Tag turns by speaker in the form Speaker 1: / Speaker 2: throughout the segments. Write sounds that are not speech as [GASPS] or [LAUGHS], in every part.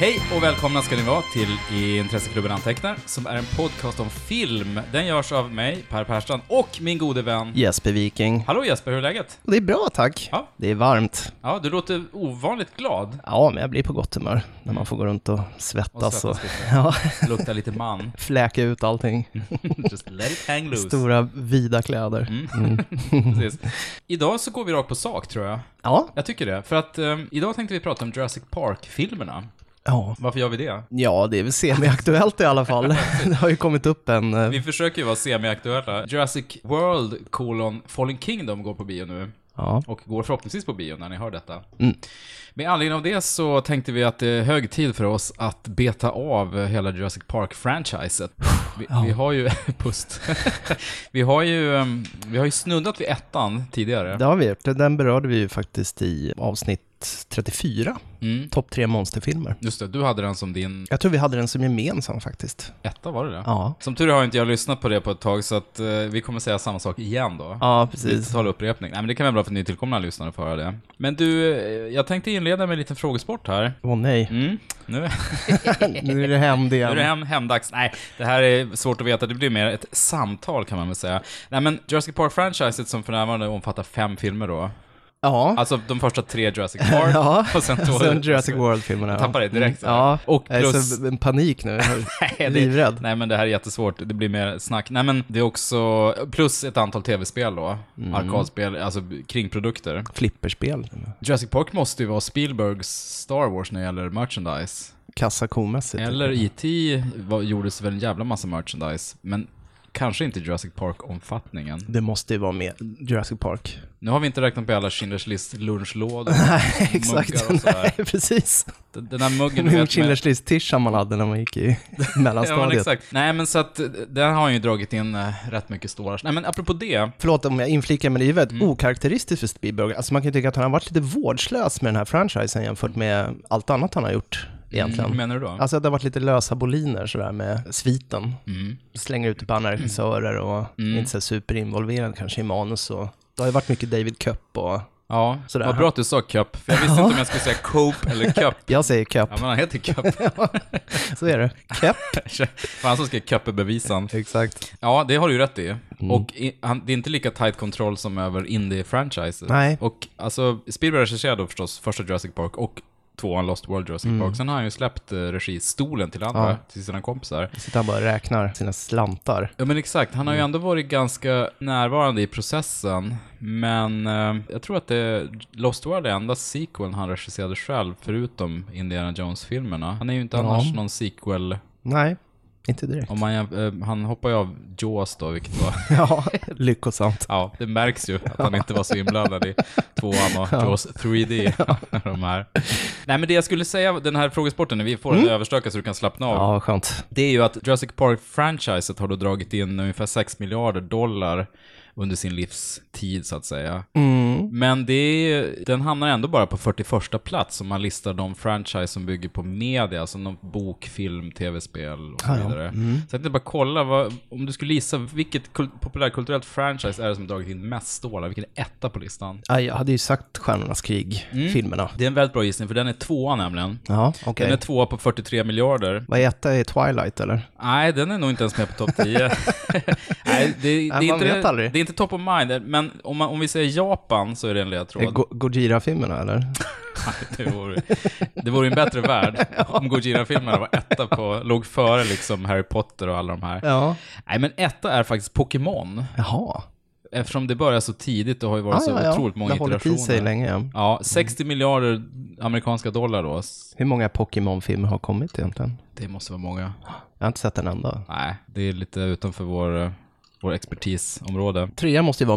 Speaker 1: Hej och välkomna ska ni vara till Intresseklubben Antecknar, som är en podcast om film. Den görs av mig, Per Persson, och min gode vän...
Speaker 2: Jesper Viking.
Speaker 1: Hallå Jesper, hur är läget?
Speaker 2: Det är bra tack.
Speaker 1: Ja.
Speaker 2: Det är varmt.
Speaker 1: Ja, du låter ovanligt glad.
Speaker 2: Ja, men jag blir på gott humör när man får gå runt och svettas och, [LAUGHS]
Speaker 1: Och svettas lite.
Speaker 2: ja,
Speaker 1: [LAUGHS] Luktar lite man.
Speaker 2: fläka ut allting.
Speaker 1: Just let it hang loose.
Speaker 2: Stora vida kläder.
Speaker 1: Mm. [LAUGHS] Precis. Idag så går vi rakt på sak, tror jag.
Speaker 2: Ja.
Speaker 1: Jag tycker det. För att eh, idag tänkte vi prata om Jurassic Park-filmerna.
Speaker 2: ja.
Speaker 1: Varför gör vi det?
Speaker 2: Ja, det är väl semiaktuellt i
Speaker 1: [LAUGHS]
Speaker 2: alla fall. [LAUGHS] det har ju kommit upp en... eh,
Speaker 1: Vi försöker ju vara semiaktuella. Jurassic World kolon Fallen Kingdom går på bio nu.
Speaker 2: Ja.
Speaker 1: Och går förhoppningsvis på bio när ni hör detta.
Speaker 2: Mm.
Speaker 1: Med anledning av det så tänkte vi att det är hög tid för oss att beta av hela Jurassic Park-franchiset. Vi, vi har ju... [LAUGHS] Pust. vi, har ju, ehm, vi har ju snuddat vid ettan tidigare.
Speaker 2: Det har vi gjort. Den berörde vi ju faktiskt i avsnitt 34.
Speaker 1: Mm.
Speaker 2: Topp tre monsterfilmer.
Speaker 1: Just det, du hade den som din
Speaker 2: Jag tror vi hade den som gemensam faktiskt.
Speaker 1: etta, var det det?
Speaker 2: Ja.
Speaker 1: Som tur är har inte jag lyssnat på det på ett tag, så att eh, vi kommer säga samma sak igen då.
Speaker 2: Ja,
Speaker 1: Lite
Speaker 2: precis.
Speaker 1: total upprepning. Nej, men det kan vara bra för nytillkomna lyssnare att få höra det. Men du, eh, jag tänkte inleda med en liten frågesport här. [LAUGHS]
Speaker 2: Åh nej,
Speaker 1: Mm, nu,
Speaker 2: nu är det hämnd
Speaker 1: nu är det
Speaker 2: igen.
Speaker 1: hem, hemdags. Nej, det här är svårt att veta. Det blir mer ett samtal kan man väl säga. Nej, men Jurassic Park-franchiset som för närvarande omfattar fem filmer då.
Speaker 2: Ja,
Speaker 1: Alltså de första tre Jurassic
Speaker 2: [LAUGHS]
Speaker 1: Park
Speaker 2: Ja,
Speaker 1: och sen två...
Speaker 2: sen Alltså, Jurassic World-filmerna.
Speaker 1: Alltså, Jag tappar det direkt.
Speaker 2: Ja,
Speaker 1: Och
Speaker 2: jag är
Speaker 1: plus...
Speaker 2: så en panik nu.
Speaker 1: [LAUGHS]
Speaker 2: Jag
Speaker 1: [LAUGHS] Nej,
Speaker 2: är
Speaker 1: det-
Speaker 2: livrädd.
Speaker 1: Nej men det här är jättesvårt, det blir mer snack. Nej men det är också, plus ett antal tv-spel då.
Speaker 2: Mm.
Speaker 1: Arkadspel, alltså kringprodukter.
Speaker 2: Flipperspel.
Speaker 1: Jurassic Park måste ju vara Spielbergs Star Wars när det gäller merchandise.
Speaker 2: Kassakomässigt.
Speaker 1: Eller E.T. var- gjordes väl en jävla massa merchandise, men kanske inte Jurassic Park-omfattningen.
Speaker 2: Det måste ju vara med Jurassic Park.
Speaker 1: [LAUGHS] Nu har vi inte räknat på alla Schindler's list
Speaker 2: [LAUGHS]
Speaker 1: lunchlådor,
Speaker 2: Exakt.
Speaker 1: muggar och sådär. [LAUGHS]
Speaker 2: Nej, precis.
Speaker 1: Den den där
Speaker 2: [LAUGHS]
Speaker 1: muggen du
Speaker 2: Min
Speaker 1: vet med...
Speaker 2: Schindler's list-tishan man hade när man gick i
Speaker 1: [LAUGHS] Ja, men
Speaker 2: mellanstadiet.
Speaker 1: exakt. Nej men så att, eh, där har han ju dragit in eh, rätt mycket stålar. Nej men apropå det,
Speaker 2: Förlåt om jag inflikar, men det är ju
Speaker 1: Mm.
Speaker 2: väldigt okaraktäristiskt för Spielberg. Alltså man kan ju tycka att han har varit lite vårdslös med den här franchisen jämfört med allt annat han har gjort egentligen.
Speaker 1: hur Mm, menar du då?
Speaker 2: Alltså att det har varit lite lösa boliner sådär med sviten.
Speaker 1: Mm.
Speaker 2: Slänger ut bannerregissörer och inte så superinvolverad kanske i manus och det har ju varit mycket David Cup och
Speaker 1: Ja,
Speaker 2: Sådär.
Speaker 1: vad bra att du sa cup, för jag visste
Speaker 2: [LAUGHS]
Speaker 1: inte om jag skulle säga cope eller cup.
Speaker 2: jag säger Cup,
Speaker 1: Ja men han heter cup.
Speaker 2: så är det. Cup.
Speaker 1: För han som skrev cup är bevisan.
Speaker 2: [LAUGHS] Exakt.
Speaker 1: Ja, det har du ju rätt i.
Speaker 2: Mm.
Speaker 1: Och i, han, det är inte lika tight kontroll som över indie-franchises.
Speaker 2: Nej.
Speaker 1: Och alltså, Spielberg regisserade då förstås första Jurassic Park och tvåan Lost World Jurassic Park. Sen har han ju släppt eh, registolen till andra,
Speaker 2: Ja.
Speaker 1: till sina kompisar.
Speaker 2: Sitter han bara och räknar sina slantar.
Speaker 1: Ja men exakt, han har ju ändå varit ganska närvarande i processen. Men eh, jag tror att det, Lost World är enda sequeln han regisserade själv, förutom Indiana Jones-filmerna. Han är ju inte annars någon sequel,
Speaker 2: Nej, inte direkt.
Speaker 1: om man, jäm- eh, han hoppar ju av Jaws då, vilket var...
Speaker 2: [LAUGHS] Ja, lyckosamt.
Speaker 1: [LAUGHS] Ja, det märks ju att han inte var så inblandad i tvåan och Jaws 3D. [LAUGHS] De här. Nej men det jag skulle säga, den här frågesporten, när vi får den överstökad så du kan slappna av.
Speaker 2: Ja, skönt.
Speaker 1: Det är ju att Jurassic Park-franchiset har då dragit in ungefär 6 miljarder dollar under sin livstid så att säga. Men det är, den hamnar ändå bara på 41 plats om man listar de franchise som bygger på media, som någon bok, film, tv-spel och så vidare. Så jag tänkte bara kolla, vad, om du skulle gissa vilket kul- populärkulturellt franchise är det som dragit in mest stålar? Vilken är etta på listan?
Speaker 2: Ja, jag hade ju sagt Stjärnornas krig-filmerna.
Speaker 1: Det är en väldigt bra gissning, för den är tvåa nämligen.
Speaker 2: Mm. Ja,
Speaker 1: Den
Speaker 2: okej.
Speaker 1: är tvåa på 43 miljarder.
Speaker 2: Vad är etta? Är Twilight eller?
Speaker 1: Nej, den är nog inte ens med på topp
Speaker 2: [LAUGHS]
Speaker 1: 10. Nej, det, det, är
Speaker 2: man vet
Speaker 1: inte,
Speaker 2: aldrig.
Speaker 1: det är inte top of mind, men om, man, om vi säger Japan så är det en
Speaker 2: Är
Speaker 1: ledtråd.
Speaker 2: Go- Gojira-filmerna eller?
Speaker 1: [LAUGHS] Det vore, det vore en bättre
Speaker 2: [LAUGHS]
Speaker 1: värld om Gojira-filmerna var etta på, låg före liksom Harry Potter och alla de här.
Speaker 2: Ja.
Speaker 1: Nej, men etta är faktiskt Pokémon.
Speaker 2: Jaha.
Speaker 1: Eftersom det börjar så tidigt och har ju varit så otroligt många
Speaker 2: Det har hållit i sig
Speaker 1: iterationer.
Speaker 2: länge. Mm.
Speaker 1: Ja, 60 miljarder amerikanska dollar då.
Speaker 2: Hur många Pokémon-filmer har kommit egentligen?
Speaker 1: Det måste vara många.
Speaker 2: Jag har inte sett en enda.
Speaker 1: Nej, det är lite utanför vår, eh, vår expertisområde.
Speaker 2: Trea måste ju vara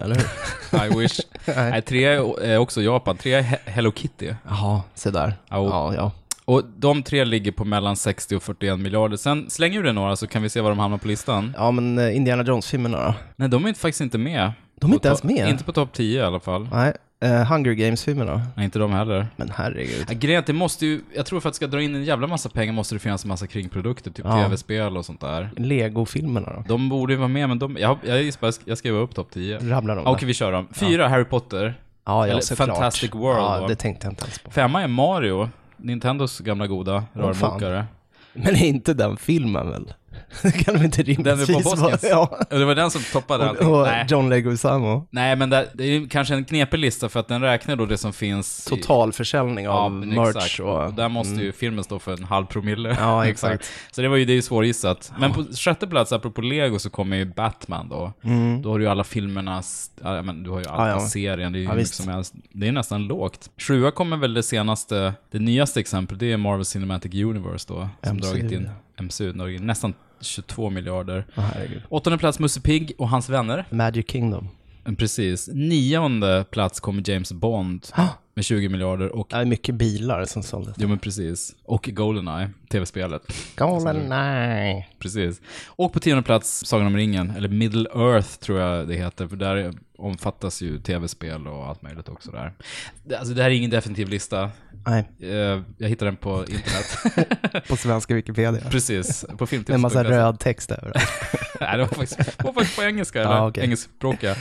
Speaker 1: [LAUGHS]
Speaker 2: eller hur?
Speaker 1: I
Speaker 2: [LAUGHS]
Speaker 1: wish. Nej. trea är är också Japan. Trea är He- Hello Kitty.
Speaker 2: Jaha, se där.
Speaker 1: Ja, och-
Speaker 2: Ja, ja.
Speaker 1: Och de tre ligger på mellan 60 och 41 miljarder. Sen slänger du det några så kan vi se var de hamnar på listan.
Speaker 2: Ja, men eh, Indiana Jones-filmerna då?
Speaker 1: Nej, de är inte, faktiskt inte med.
Speaker 2: De är inte
Speaker 1: På
Speaker 2: ens
Speaker 1: to-
Speaker 2: med.
Speaker 1: Inte på topp 10 i alla fall.
Speaker 2: Nej, eh, Hunger Games-filmerna.
Speaker 1: Nej, inte de heller.
Speaker 2: Men herregud.
Speaker 1: Ja, Grejen är att det måste ju, jag tror för att ska dra in en jävla massa pengar måste det finnas en massa kringprodukter, typ tv-spel och sånt där.
Speaker 2: Lego-filmerna då?
Speaker 1: De borde ju vara med, men de, jag, jag gissar bara, jag skriver upp topp 10. Ja,
Speaker 2: Rabblar de
Speaker 1: Okej,
Speaker 2: där?
Speaker 1: vi kör dem. Fyra Harry Potter.
Speaker 2: Ja,
Speaker 1: Eller
Speaker 2: ja, såklart.
Speaker 1: Fantastic World
Speaker 2: Ja,
Speaker 1: då.
Speaker 2: det tänkte jag inte alls på.
Speaker 1: Femma är Mario. Nintendos gamla goda rörmokare.
Speaker 2: Men inte den filmen väl? [LAUGHS] Det kan de inte rimligtvis
Speaker 1: Den med Bob
Speaker 2: vara-
Speaker 1: Hoskins?
Speaker 2: Ja.
Speaker 1: [LAUGHS] Det var den som toppade allting.
Speaker 2: Och, och
Speaker 1: Nej.
Speaker 2: John Leguizamo.
Speaker 1: Nej, men det, det är ju kanske en knepig lista för att den räknar då det som finns. i-
Speaker 2: Totalförsäljning
Speaker 1: Ja,
Speaker 2: av
Speaker 1: men
Speaker 2: merch
Speaker 1: exakt.
Speaker 2: och... Mm.
Speaker 1: Och där måste ju filmen stå för en halv promille. [LAUGHS]
Speaker 2: Ja, exakt.
Speaker 1: Så det var ju, det är ju svårgissat. Men på sjätte plats, apropå Lego, så kommer ju Batman då. Då har du ju alla filmernas, ja, men du har ju alla
Speaker 2: Mm. Ja, ja.
Speaker 1: serien, det är ju hur mycket
Speaker 2: visst.
Speaker 1: som helst. Det är nästan lågt. Sjua kommer väl det senaste, det nyaste exemplet, det är Marvel Cinematic Universe då. Som
Speaker 2: MCU,
Speaker 1: dragit in, MCU, dragit in nästan 22 miljarder.
Speaker 2: Åh, herregud.
Speaker 1: Åttonde plats Musse Pigg och hans vänner.
Speaker 2: Magic Kingdom. [GASPS]
Speaker 1: Precis. Nionde plats kommer James Bond med 20 miljarder och
Speaker 2: Det är mycket bilar som såldes.
Speaker 1: Jo men precis. Och Goldeneye, tv-spelet.
Speaker 2: Goldeneye.
Speaker 1: Precis. Och på tionde plats Sagan om ringen, eller Middle Earth tror jag det heter, för där omfattas ju tv-spel och allt möjligt också där. Det- Alltså det här är ingen definitiv lista.
Speaker 2: Nej,
Speaker 1: Eh, Jag hittade den på internet. [LAUGHS]
Speaker 2: på svenska Wikipedia.
Speaker 1: precis, på filmtips.
Speaker 2: Med en massa röd text överallt.
Speaker 1: [LAUGHS] Nej, det var faktiskt, det var faktiskt på engelska, eller
Speaker 2: Ja, okej.
Speaker 1: engelskspråkiga.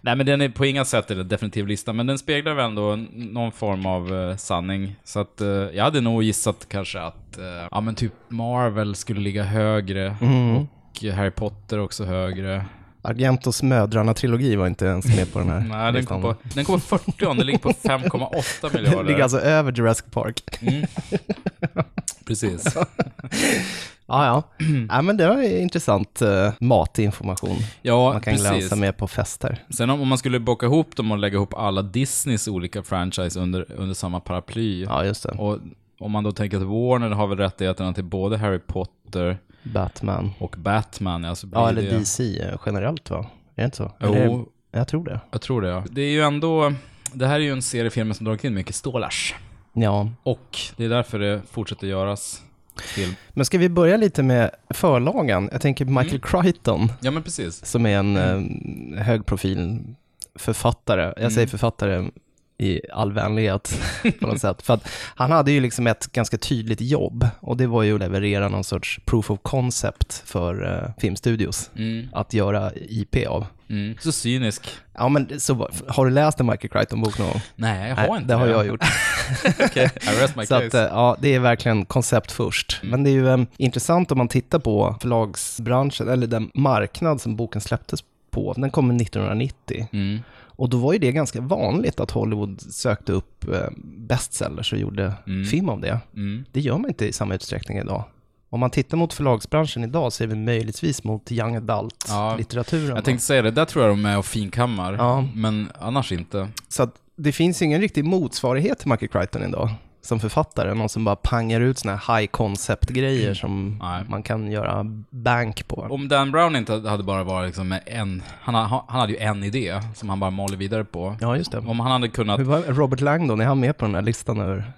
Speaker 1: Nej, men den är på inga sätt en definitiv lista, men den speglar väl ändå n- någon form av eh, sanning. Så att eh, jag hade nog gissat kanske att, eh, ja men typ Marvel skulle ligga högre och Harry Potter också högre.
Speaker 2: Mm. Argentos mödrarna-trilogi var inte ens med på den här
Speaker 1: Nej, den kom på,
Speaker 2: [LAUGHS]
Speaker 1: den kom på 40 den ligger på 5,8 miljarder.
Speaker 2: Den ligger alltså över Jurassic Park. alltså- [LAUGHS]
Speaker 1: Precis.
Speaker 2: Ja, ja.
Speaker 1: [CLEARS THROAT]
Speaker 2: ja men det var ju intressant eh, matinformation
Speaker 1: Ja,
Speaker 2: man kan
Speaker 1: precis.
Speaker 2: glänsa med på fester.
Speaker 1: Sen om, om man skulle bocka ihop dem och lägga ihop alla Disneys olika franchise under, under samma paraply.
Speaker 2: Ja, just det.
Speaker 1: Och om man då tänker att Warner har väl rättigheterna till både Harry Potter
Speaker 2: Batman.
Speaker 1: och Batman. Alltså blir
Speaker 2: Ja, eller
Speaker 1: det...
Speaker 2: DC eh, generellt va? Är det inte så?
Speaker 1: Jo.
Speaker 2: Eller, jag tror det.
Speaker 1: Jag tror det, ja. Det är ju ändå... Det här är ju en serie filmer som dragit in mycket stålars.
Speaker 2: Ja.
Speaker 1: Och det är därför det fortsätter göras film.
Speaker 2: Men ska vi börja lite med förlagan? Jag tänker
Speaker 1: Mm.
Speaker 2: Michael Crichton,
Speaker 1: Ja, men precis.
Speaker 2: som är en eh, högprofil författare. Jag säger författare i all vänlighet [LAUGHS] på något sätt. För att han hade ju liksom ett ganska tydligt jobb och det var ju att leverera någon sorts proof of concept för eh, filmstudios
Speaker 1: Mm,
Speaker 2: att göra IP av.
Speaker 1: mm. Så cynisk.
Speaker 2: Ja, men så, var- har du läst en Michael Crichton-bok någon gång?
Speaker 1: Nej, jag har
Speaker 2: Nej,
Speaker 1: inte
Speaker 2: det har
Speaker 1: [LAUGHS]
Speaker 2: jag gjort.
Speaker 1: Okej, I rest my
Speaker 2: Så att, eh,
Speaker 1: case. Mm.
Speaker 2: ja, det är verkligen koncept först. Men det är ju eh, intressant om man tittar på förlagsbranschen, eller den marknad som boken släpptes på. Den kom 1990.
Speaker 1: Mm.
Speaker 2: Och då var ju det ganska vanligt att Hollywood sökte upp eh, bestsellers och gjorde film av det.
Speaker 1: Mm.
Speaker 2: Det gör man inte i samma utsträckning idag. Om man tittar mot förlagsbranschen idag så är vi möjligtvis mot young
Speaker 1: Ja,
Speaker 2: adult-litteraturen.
Speaker 1: Jag tänkte säga det, där tror jag de är och finkammar.
Speaker 2: Ja.
Speaker 1: Men annars inte.
Speaker 2: Så att det finns ingen riktig motsvarighet till Michael Crichton idag som författare, någon som bara pangar ut såna här high concept-grejer som
Speaker 1: Nej.
Speaker 2: man kan göra bank på.
Speaker 1: Om Dan Brown inte hade bara varit liksom med en... Han, ha- han hade ju en idé som han bara maler vidare på.
Speaker 2: Ja, just det.
Speaker 1: Om han hade kunnat
Speaker 2: Hur var Robert Langdon, är han med på den här
Speaker 1: [LAUGHS]
Speaker 2: listan över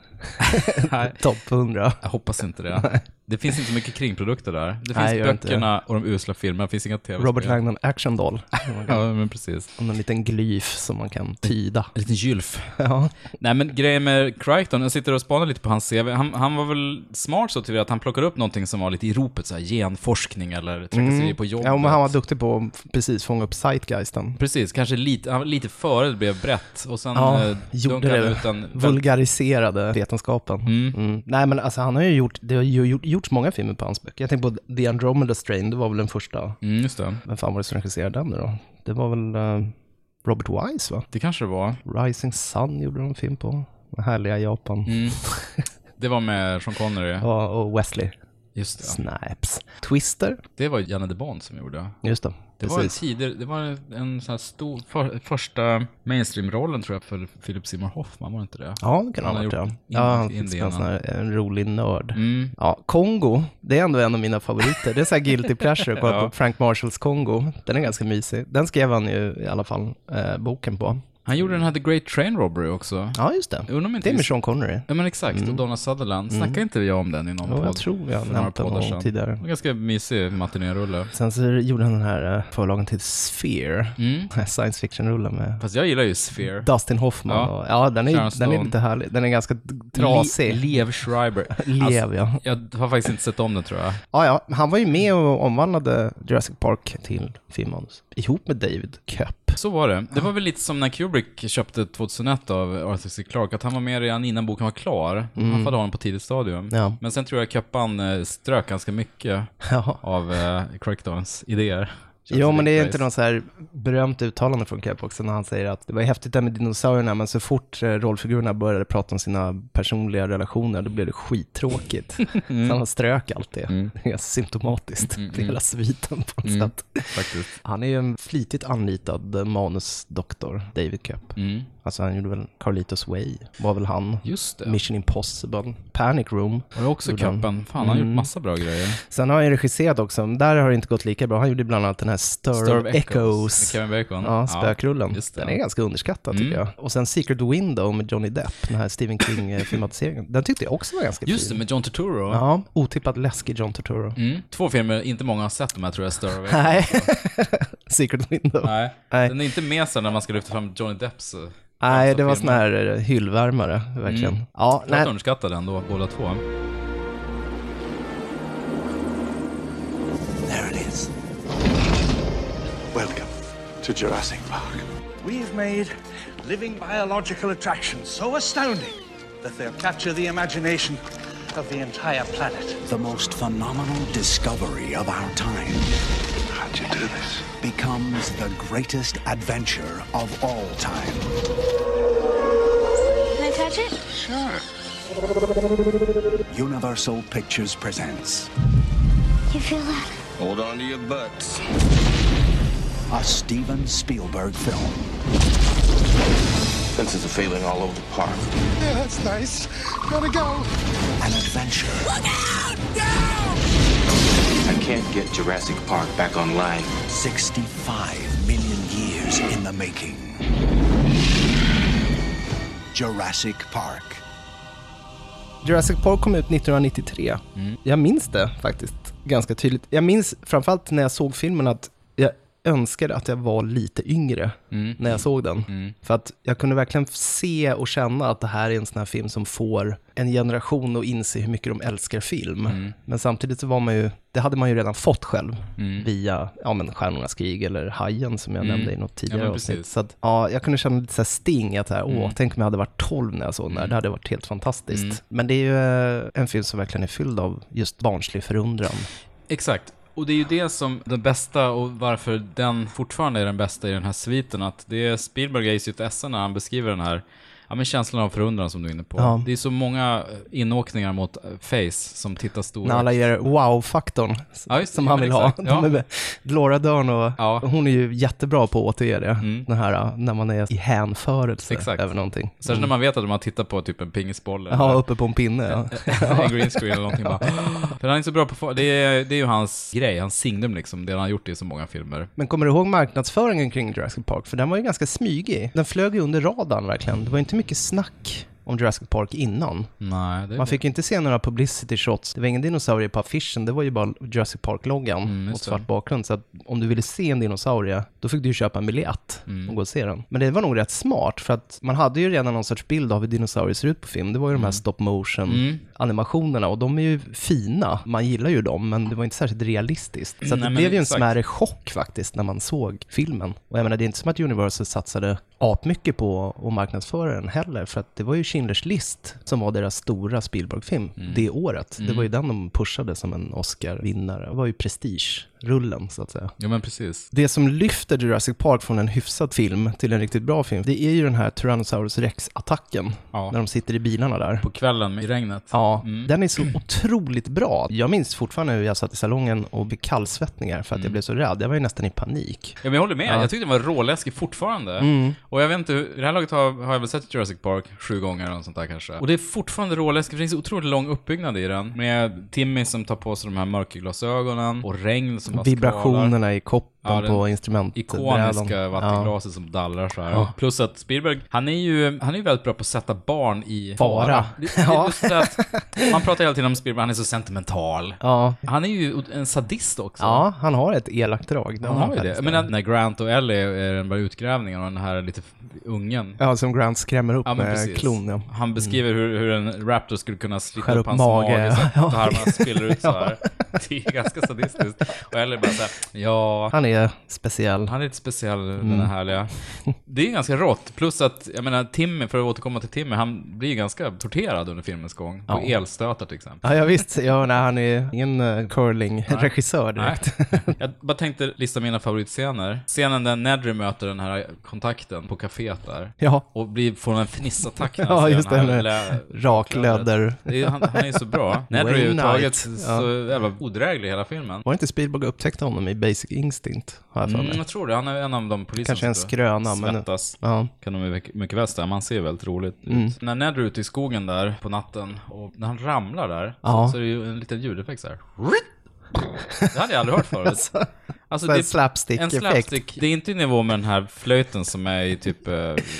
Speaker 2: [LAUGHS] topp 100?
Speaker 1: Jag hoppas inte det. Det finns inte mycket kringprodukter där. Det finns
Speaker 2: Nej, gör inte
Speaker 1: böckerna och de usla filmerna, det finns inga tv-spel.
Speaker 2: Robert Langdon Action Doll,
Speaker 1: Ja, men precis.
Speaker 2: och en liten glyf som man kan
Speaker 1: [LAUGHS]
Speaker 2: tyda.
Speaker 1: En liten gylf.
Speaker 2: Ja,
Speaker 1: Nej, men grejen med Crichton, jag sitter och spanar lite på hans CV. Han, han var väl smart så tillvida att han plockade upp någonting som var lite i ropet, så här genforskning eller trakasserier på jobbet.
Speaker 2: Mm. ja men han var duktig på att f- precis fånga upp zeitgeisten.
Speaker 1: Precis, kanske lite, han var lite före det blev brett och sen
Speaker 2: Ja,
Speaker 1: eh,
Speaker 2: gjorde
Speaker 1: dunkade han
Speaker 2: det.
Speaker 1: ut en...
Speaker 2: Vulgariserade vetenskapen.
Speaker 1: Mm.
Speaker 2: Mm. Nej, men alltså, han har ju gjort, det har ju gjort, gjorts många filmer på hans böcker. Jag tänker på The Andromeda Strain, det var väl den första.
Speaker 1: Mm, just det.
Speaker 2: Vem fan var det som regisserade den nu då? Det var väl eh, Robert Wise, va?
Speaker 1: Det kanske det var.
Speaker 2: Rising Sun gjorde de en film på. Den härliga Japan.
Speaker 1: Mm. Det var med Sean Connery.
Speaker 2: Ja, och Wesley
Speaker 1: Just det.
Speaker 2: Snipes. Twister,
Speaker 1: Det var Janne de Bond som gjorde.
Speaker 2: just det.
Speaker 1: Det var, en tider, det var en sån här stor, för, första mainstream-rollen tror jag för Philip Seymour Hoffman, var det inte det?
Speaker 2: Ja, det kan
Speaker 1: Han har
Speaker 2: han ha varit, ja.
Speaker 1: gjort
Speaker 2: Ja, han
Speaker 1: Indien,
Speaker 2: finns med en, sån
Speaker 1: han.
Speaker 2: här, en rolig nörd.
Speaker 1: Mm.
Speaker 2: Ja, Kongo, det är ändå en av mina favoriter. Det är så här guilty pleasure att
Speaker 1: [LAUGHS]
Speaker 2: kolla
Speaker 1: Ja.
Speaker 2: på Frank Marshalls Kongo. Den är ganska mysig. Den skrev han ju i alla fall eh, boken på.
Speaker 1: Han gjorde den här The Great Train Robbery också.
Speaker 2: Ja, just det.
Speaker 1: Jag undrar om inte
Speaker 2: Det är
Speaker 1: vi-
Speaker 2: med Sean Connery.
Speaker 1: Ja men exakt, och Donna Sutherland. Snackade inte jag om den i någon
Speaker 2: Ja,
Speaker 1: podd?
Speaker 2: jag tror vi har
Speaker 1: för några
Speaker 2: nämnt den
Speaker 1: poddar
Speaker 2: någon
Speaker 1: sedan.
Speaker 2: tidigare.
Speaker 1: Det var En ganska mysig matinérulle.
Speaker 2: Sen så gjorde han den här eh, förlagen till Sphere,
Speaker 1: Mm.
Speaker 2: science fiction-rullen med
Speaker 1: Fast jag gillar ju Sphere.
Speaker 2: Dustin Hoffman.
Speaker 1: Ja.
Speaker 2: Ja, och, ja den,
Speaker 1: Sharon
Speaker 2: är, den är
Speaker 1: Stone.
Speaker 2: lite härlig. Den är ganska trasig.
Speaker 1: Le- Lev Schreiber. Alltså,
Speaker 2: Lev, ja.
Speaker 1: jag har faktiskt inte sett om den tror jag.
Speaker 2: Ja, ja. Han var ju med och omvandlade Jurassic Park till filmmanus ihop med David Köpp.
Speaker 1: Så var det. Det var väl lite som när Kubrick köpte 2001 av Arthur C. Clarke, att han var med redan innan boken var klar.
Speaker 2: Mm.
Speaker 1: Han hade honom på tidigt stadium.
Speaker 2: Ja. [LAUGHS]
Speaker 1: Men sen tror jag Köppan eh, strök ganska mycket
Speaker 2: Ja.
Speaker 1: av eh, Crichtons idéer. Känns
Speaker 2: Jo, men det är
Speaker 1: lite
Speaker 2: inte
Speaker 1: nice.
Speaker 2: något så här berömt uttalande från Kepp också när han säger att det var häftigt där med dinosaurierna, men så fort eh, rollfigurerna började prata om sina personliga relationer, då blev det skittråkigt. [LAUGHS] Så han strök allt det. Det är symptomatiskt [LAUGHS] för hela sviten på något sätt.
Speaker 1: Faktiskt.
Speaker 2: Han är ju en flitigt anlitad eh, manusdoktor, David Köpp.
Speaker 1: Mm.
Speaker 2: Alltså han gjorde väl Carlitos Way, var väl han.
Speaker 1: Just det.
Speaker 2: Mission Impossible, Panic Room.
Speaker 1: Var det också
Speaker 2: Gjorde han. Mm.
Speaker 1: Köppen? Fan, han har gjort massa bra grejer.
Speaker 2: Sen har han ju regisserat också, men där har det inte gått lika bra. Han gjorde bland annat den här Stir, of Echoes.
Speaker 1: Med Kevin Bacon.
Speaker 2: Ja, spökrullen.
Speaker 1: just det. Mm.
Speaker 2: Den är ganska underskattad tycker jag. Och sen Secret Window med Johnny Depp, den här Stephen King-filmatiseringen. Den tyckte jag också var ganska
Speaker 1: Just det,
Speaker 2: fin.
Speaker 1: med John Turturro.
Speaker 2: Ja, otippat läskig John Turturro.
Speaker 1: Mm. Två filmer, inte många har sett de här tror jag, Stir of Echoes.
Speaker 2: [LAUGHS] Nej, Secret Window. Nej,
Speaker 1: Nej.
Speaker 2: Nej.
Speaker 1: Den är inte med sen när man ska lyfta fram Johnny Depps. eh,
Speaker 2: det var
Speaker 1: filmen.
Speaker 2: sån här eh, hyllvärmare, verkligen.
Speaker 1: Mm.
Speaker 2: Ja,
Speaker 1: Rätt
Speaker 2: nej,
Speaker 1: underskattade ändå, båda två.
Speaker 3: There it is. Welcome to Jurassic Park.
Speaker 4: We've made living biological attractions so astounding that they'll capture the imagination of the entire planet.
Speaker 5: the most phenomenal discovery of our time
Speaker 3: How'd you do this?
Speaker 5: becomes the greatest adventure of all time.
Speaker 6: Can I touch it?
Speaker 5: Universal Pictures presents
Speaker 6: You feel that?
Speaker 7: Hold on to your butts.
Speaker 5: a Steven Spielberg film.
Speaker 7: Fences are failing all over the park.
Speaker 3: Yeah, that's nice. Gotta go.
Speaker 5: An adventure
Speaker 7: I can't get Jurassic Park back online.
Speaker 5: 65 million years in the making. Jurassic Park.
Speaker 2: Jurassic Park kom ut 1993.
Speaker 1: Mm.
Speaker 2: Jag minns det faktiskt ganska tydligt. Jag minns framförallt när jag såg filmen att jag önskade att jag var lite yngre
Speaker 1: Mm.
Speaker 2: när jag såg den. För att jag kunde verkligen se och känna att det här är en sån här film som får en generation att inse hur mycket de älskar film.
Speaker 1: Mm.
Speaker 2: Men samtidigt så var man ju, det hade man ju redan fått själv
Speaker 1: Mm.
Speaker 2: via ja, men Stjärnornas krig eller Hajen som jag nämnde i något tidigare
Speaker 1: men
Speaker 2: avsnitt.
Speaker 1: precis.
Speaker 2: Så att, ja, jag kunde känna lite så här sting, att så här,
Speaker 1: Mm.
Speaker 2: åh, tänk om jag hade varit 12 när jag såg den där, det hade varit helt fantastiskt. Men det är ju eh, en film som verkligen är fylld av just barnslig förundran.
Speaker 1: Exakt. Och det är ju det som den bästa och varför den fortfarande är den bästa i den här sviten. Att det är Spielberg är sitt esse när han beskriver den här ja, men känslan av förundran som du är inne på.
Speaker 2: Ja.
Speaker 1: Det är så många inåkningar mot eh, Face som tittar
Speaker 2: När alla
Speaker 1: stora.
Speaker 2: ger wow-faktorn s-
Speaker 1: Ja, just det.
Speaker 2: som
Speaker 1: Ja,
Speaker 2: han
Speaker 1: men
Speaker 2: vill ha.
Speaker 1: exakt. Ja.
Speaker 2: De är, Laura Dern och
Speaker 1: Ja. Mm.
Speaker 2: hon är ju jättebra på att återge det. Den här eh, när man är i hänförelse
Speaker 1: Exakt.
Speaker 2: över någonting.
Speaker 1: Särskilt när man vet att de har tittat på typ en pingisboll eller
Speaker 2: Ja, uppe på en pinne. Ja.
Speaker 1: en green screen eller någonting bara. För han är så bra på... Det är, det är ju hans grej, hans signum liksom. Det han har gjort i så många filmer.
Speaker 2: Men kommer du ihåg marknadsföringen kring Jurassic Park? För den var ju ganska smygig. Den flög ju under radarn verkligen. Det var inte mycket snack om Jurassic Park innan.
Speaker 1: Nej, det är
Speaker 2: Man fick ju inte se några publicity shots. Det var ingen dinosaurie på affischen, det var ju bara Jurassic Park-loggan
Speaker 1: Mm,
Speaker 2: mot svart bakgrund. Så att om du ville se en dinosaurie, då fick du ju köpa en biljett
Speaker 1: Mm.
Speaker 2: och gå och se den. Men det var nog rätt smart, för att man hade ju redan någon sorts bild av hur dinosaurier ser ut på film. Det var ju
Speaker 1: Mm.
Speaker 2: de här stop motion-animationerna och de är ju fina. Man gillar ju dem, men det var inte särskilt realistiskt. Så
Speaker 1: Nej,
Speaker 2: att det
Speaker 1: men
Speaker 2: blev ju en
Speaker 1: exakt.
Speaker 2: smärre chock faktiskt när man såg filmen. Och jag menar, det är inte som att Universal satsade apmycket på att marknadsföra den heller, för att det var ju Schindler's list som var deras stora Spielberg-film
Speaker 1: Mm.
Speaker 2: det året. Det var ju den de pushade som en Oscar-vinnare. Det var ju prestige-rullen, så att säga.
Speaker 1: Jo men precis.
Speaker 2: Det som lyfter Jurassic Park från en hyfsad film till en riktigt bra film, det är ju den här Tyrannosaurus Rex-attacken,
Speaker 1: Ja.
Speaker 2: när de sitter i bilarna där.
Speaker 1: På kvällen i regnet.
Speaker 2: Ja,
Speaker 1: Mm.
Speaker 2: den är så otroligt bra. Jag minns fortfarande hur jag satt i salongen och fick kallsvettningar för att
Speaker 1: Mm.
Speaker 2: jag blev så rädd. Jag var ju nästan i panik.
Speaker 1: Ja, Mm. men jag håller med. Jag tyckte den var råläskig fortfarande. Och jag vet inte, hur- i det här laget har, har jag väl sett Jurassic Park sju gånger eller något sånt där kanske. Och det är fortfarande råläskigt, för det finns otroligt lång uppbyggnad i den. Med Timmy som tar på sig de här mörkerglasögonen och regn som bara skvalar.
Speaker 2: Vibrationerna i koppen
Speaker 1: Ja, den
Speaker 2: på instrumentbrädan.
Speaker 1: Ikoniska vattenglaset som dallrar så här. Plus att Spielberg, han är ju, han är ju väldigt bra på att sätta barn i
Speaker 2: Fara.
Speaker 1: Det, det är lustigt att man pratar hela tiden om Spielberg, han är så sentimental.
Speaker 2: Ja.
Speaker 1: Han är ju en sadist också.
Speaker 2: ja, han har ett elakt drag.
Speaker 1: Han har ju det.
Speaker 2: faktiskt.
Speaker 1: Jag menar, när Grant och Ellie är den bara utgrävningen och den här lite ungen.
Speaker 2: Ja, som Grant skrämmer upp
Speaker 1: Ja, men
Speaker 2: med
Speaker 1: precis.
Speaker 2: klon. Ja. Mm.
Speaker 1: Han beskriver hur, hur en raptor skulle kunna slita
Speaker 2: Skär
Speaker 1: upp
Speaker 2: upp
Speaker 1: hans
Speaker 2: mage,
Speaker 1: mage, så att
Speaker 2: [LAUGHS] ja. [LAUGHS]
Speaker 1: tarmarna spiller ut så här. Det är ganska sadistiskt. Och Ellie bara så här, ja,
Speaker 2: Han är lite speciell.
Speaker 1: Han är lite speciell,
Speaker 2: Mm.
Speaker 1: den här härliga. Det är ju ganska rått, plus att, jag menar, Timmy, för att återkomma till Timmy, han blir ju ganska torterad under filmens gång. På elstötar till exempel.
Speaker 2: Ja, ja visst. Ja, nej, han är ingen eh, curling-regissör
Speaker 1: Nej.
Speaker 2: direkt.
Speaker 1: [LAUGHS]
Speaker 2: [LAUGHS]
Speaker 1: Jag bara tänkte lista mina favoritscener. Scenen där Nedry möter den här kontakten på kaféet där.
Speaker 2: Ja.
Speaker 1: Och blir, får en fnissattack när han
Speaker 2: [LAUGHS] Ja,
Speaker 1: ser
Speaker 2: just det.
Speaker 1: den här
Speaker 2: eller
Speaker 1: lä-
Speaker 2: Raklöder.
Speaker 1: Det är, han, han är ju så
Speaker 2: [LAUGHS]
Speaker 1: bra. Nedry
Speaker 2: Wayne
Speaker 1: är överhuvudtaget
Speaker 2: Knight,
Speaker 1: så jävla odräglig i hela filmen.
Speaker 2: Var det inte Spielberg upptäckte honom i Basic Instinct? Har jag för
Speaker 1: Mm,
Speaker 2: mig.
Speaker 1: jag tror det. Han är en av de poliserna
Speaker 2: Kanske en
Speaker 1: som
Speaker 2: skröna, men-
Speaker 1: svettas.
Speaker 2: Ja. Mm.
Speaker 1: Kan de mycket- mycket väl stämma. Han ser ju väldigt roligt ut. När Ned är ute i skogen där på natten och när han ramlar där
Speaker 2: Ja.
Speaker 1: så, så är det ju en liten ljudeffekt så här. Det hade jag aldrig hört
Speaker 2: [LAUGHS]
Speaker 1: förut. Alltså,
Speaker 2: så en
Speaker 1: det är-
Speaker 2: slapstick-effekt.
Speaker 1: en slapstick. Det är inte i nivå med den här flöjten som är i typ, eh,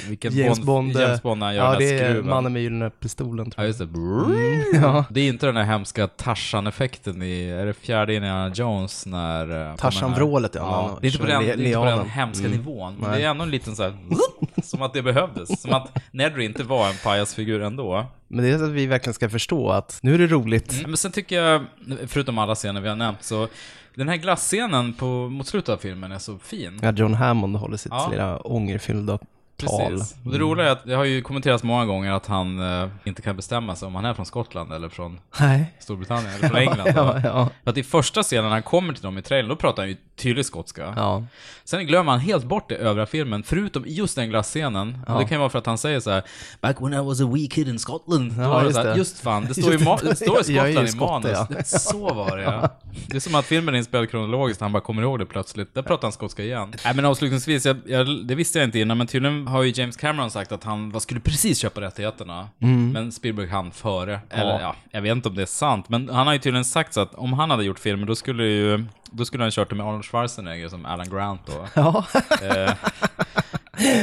Speaker 1: vilken
Speaker 2: James Bond. eh,
Speaker 1: James Bond när han gör
Speaker 2: ja,
Speaker 1: den här
Speaker 2: det är
Speaker 1: skruven.
Speaker 2: Mannen med gyllene pistolen,
Speaker 1: Ja,
Speaker 2: tror jag.
Speaker 1: just det. Mm. [LAUGHS] Det är inte den här hemska Tarzan-effekten i, är det fjärde Indiana Jones när... eh,
Speaker 2: Tarzan-vrålet, ja, Mm.
Speaker 1: kommer här?
Speaker 2: när han
Speaker 1: Det är inte på den,
Speaker 2: kör
Speaker 1: det är inte på den
Speaker 2: lianen.
Speaker 1: hemska nivån, men det är ändå en liten så här, [LAUGHS] som att det behövdes. Som att Nedry inte var en pajasfigur ändå.
Speaker 2: Men det är så att vi verkligen ska förstå att nu är det roligt.
Speaker 1: Men sen tycker jag, förutom alla scener vi har nämnt, så den här glasscenen på, mot slutet av filmen är så fin.
Speaker 2: Ja, John Hammond håller sitt
Speaker 1: Ja.
Speaker 2: lilla ångerfyllda tal.
Speaker 1: Precis. Och det roliga är att det har ju kommenterats många gånger att han eh, inte kan bestämma sig om han är från Skottland eller från
Speaker 2: Nej.
Speaker 1: Storbritannien eller från England.
Speaker 2: Ja,
Speaker 1: va?
Speaker 2: ja.
Speaker 1: För att i första scenen när han kommer till dem i trailern, då pratar han ju tydlig skotska.
Speaker 2: Ja.
Speaker 1: Sen glömmer han helt bort det i övriga filmen, förutom i just den glasscenen. Och det kan ju vara för att han säger så här: “Back when I was a wee kid in Scotland”. Då
Speaker 2: Ja,
Speaker 1: var det
Speaker 2: just
Speaker 1: så här,
Speaker 2: det.
Speaker 1: just
Speaker 2: [LAUGHS]
Speaker 1: fan, det står,
Speaker 2: Just
Speaker 1: i, ma-
Speaker 2: det.
Speaker 1: det står i
Speaker 2: Jag är ju
Speaker 1: Skottland i
Speaker 2: skotte,
Speaker 1: manus. [LAUGHS]
Speaker 2: ja.
Speaker 1: Det- Så var det ja. Det är som att filmen är inspelad kronologiskt, han bara kommer ihåg det plötsligt. Där pratar han skotska igen. Nej men avslutningsvis, jag, jag, det visste jag inte innan, men tydligen har ju James Cameron sagt att han vad, skulle precis köpa rättigheterna.
Speaker 2: Mm.
Speaker 1: Men Spielberg hann före. Eller ja, jag vet inte om det är sant, men han har ju tydligen sagt så att om han hade gjort filmen, då skulle ju då skulle han kört det med Arnold Schwarzenegger som Alan Grant då.
Speaker 2: Ja, [LAUGHS]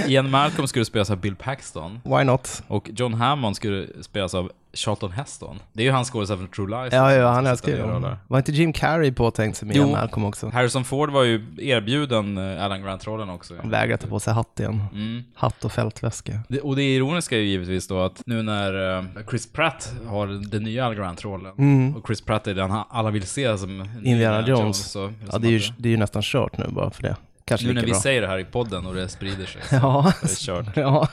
Speaker 1: Ian Malcolm skulle spelas av Bill Paxton
Speaker 2: why not?
Speaker 1: och John Hammond skulle spelas av Charlton Heston. Det är ju hans skådespelare från True Lies.
Speaker 2: Ja, ja, han älskar ju
Speaker 1: Sitter ner och
Speaker 2: honom.
Speaker 1: rullar.
Speaker 2: Var inte Jim Carrey påtänkt som Ian
Speaker 1: Jo.
Speaker 2: Malcolm också?
Speaker 1: Harrison Ford var ju erbjuden eh, Alan Grant-rollen också.
Speaker 2: Han vägrar ta på sig hatt igen.
Speaker 1: Mm.
Speaker 2: Hatt och fältväska.
Speaker 1: Det- Och det ironiska är ju givetvis då att nu när eh, Chris Pratt har den nya Alan Grant-rollen och Chris Pratt är den han- alla vill se som
Speaker 2: Mm. Indiana Jones.
Speaker 1: så,
Speaker 2: ja, det är, ju, det är ju nästan kört nu bara för det. Kanske
Speaker 1: eh, Nu när
Speaker 2: lika
Speaker 1: vi
Speaker 2: bra.
Speaker 1: säger det här i podden och det sprider sig. så
Speaker 2: [LAUGHS] Ja.
Speaker 1: är det kört.
Speaker 2: [LAUGHS] ja,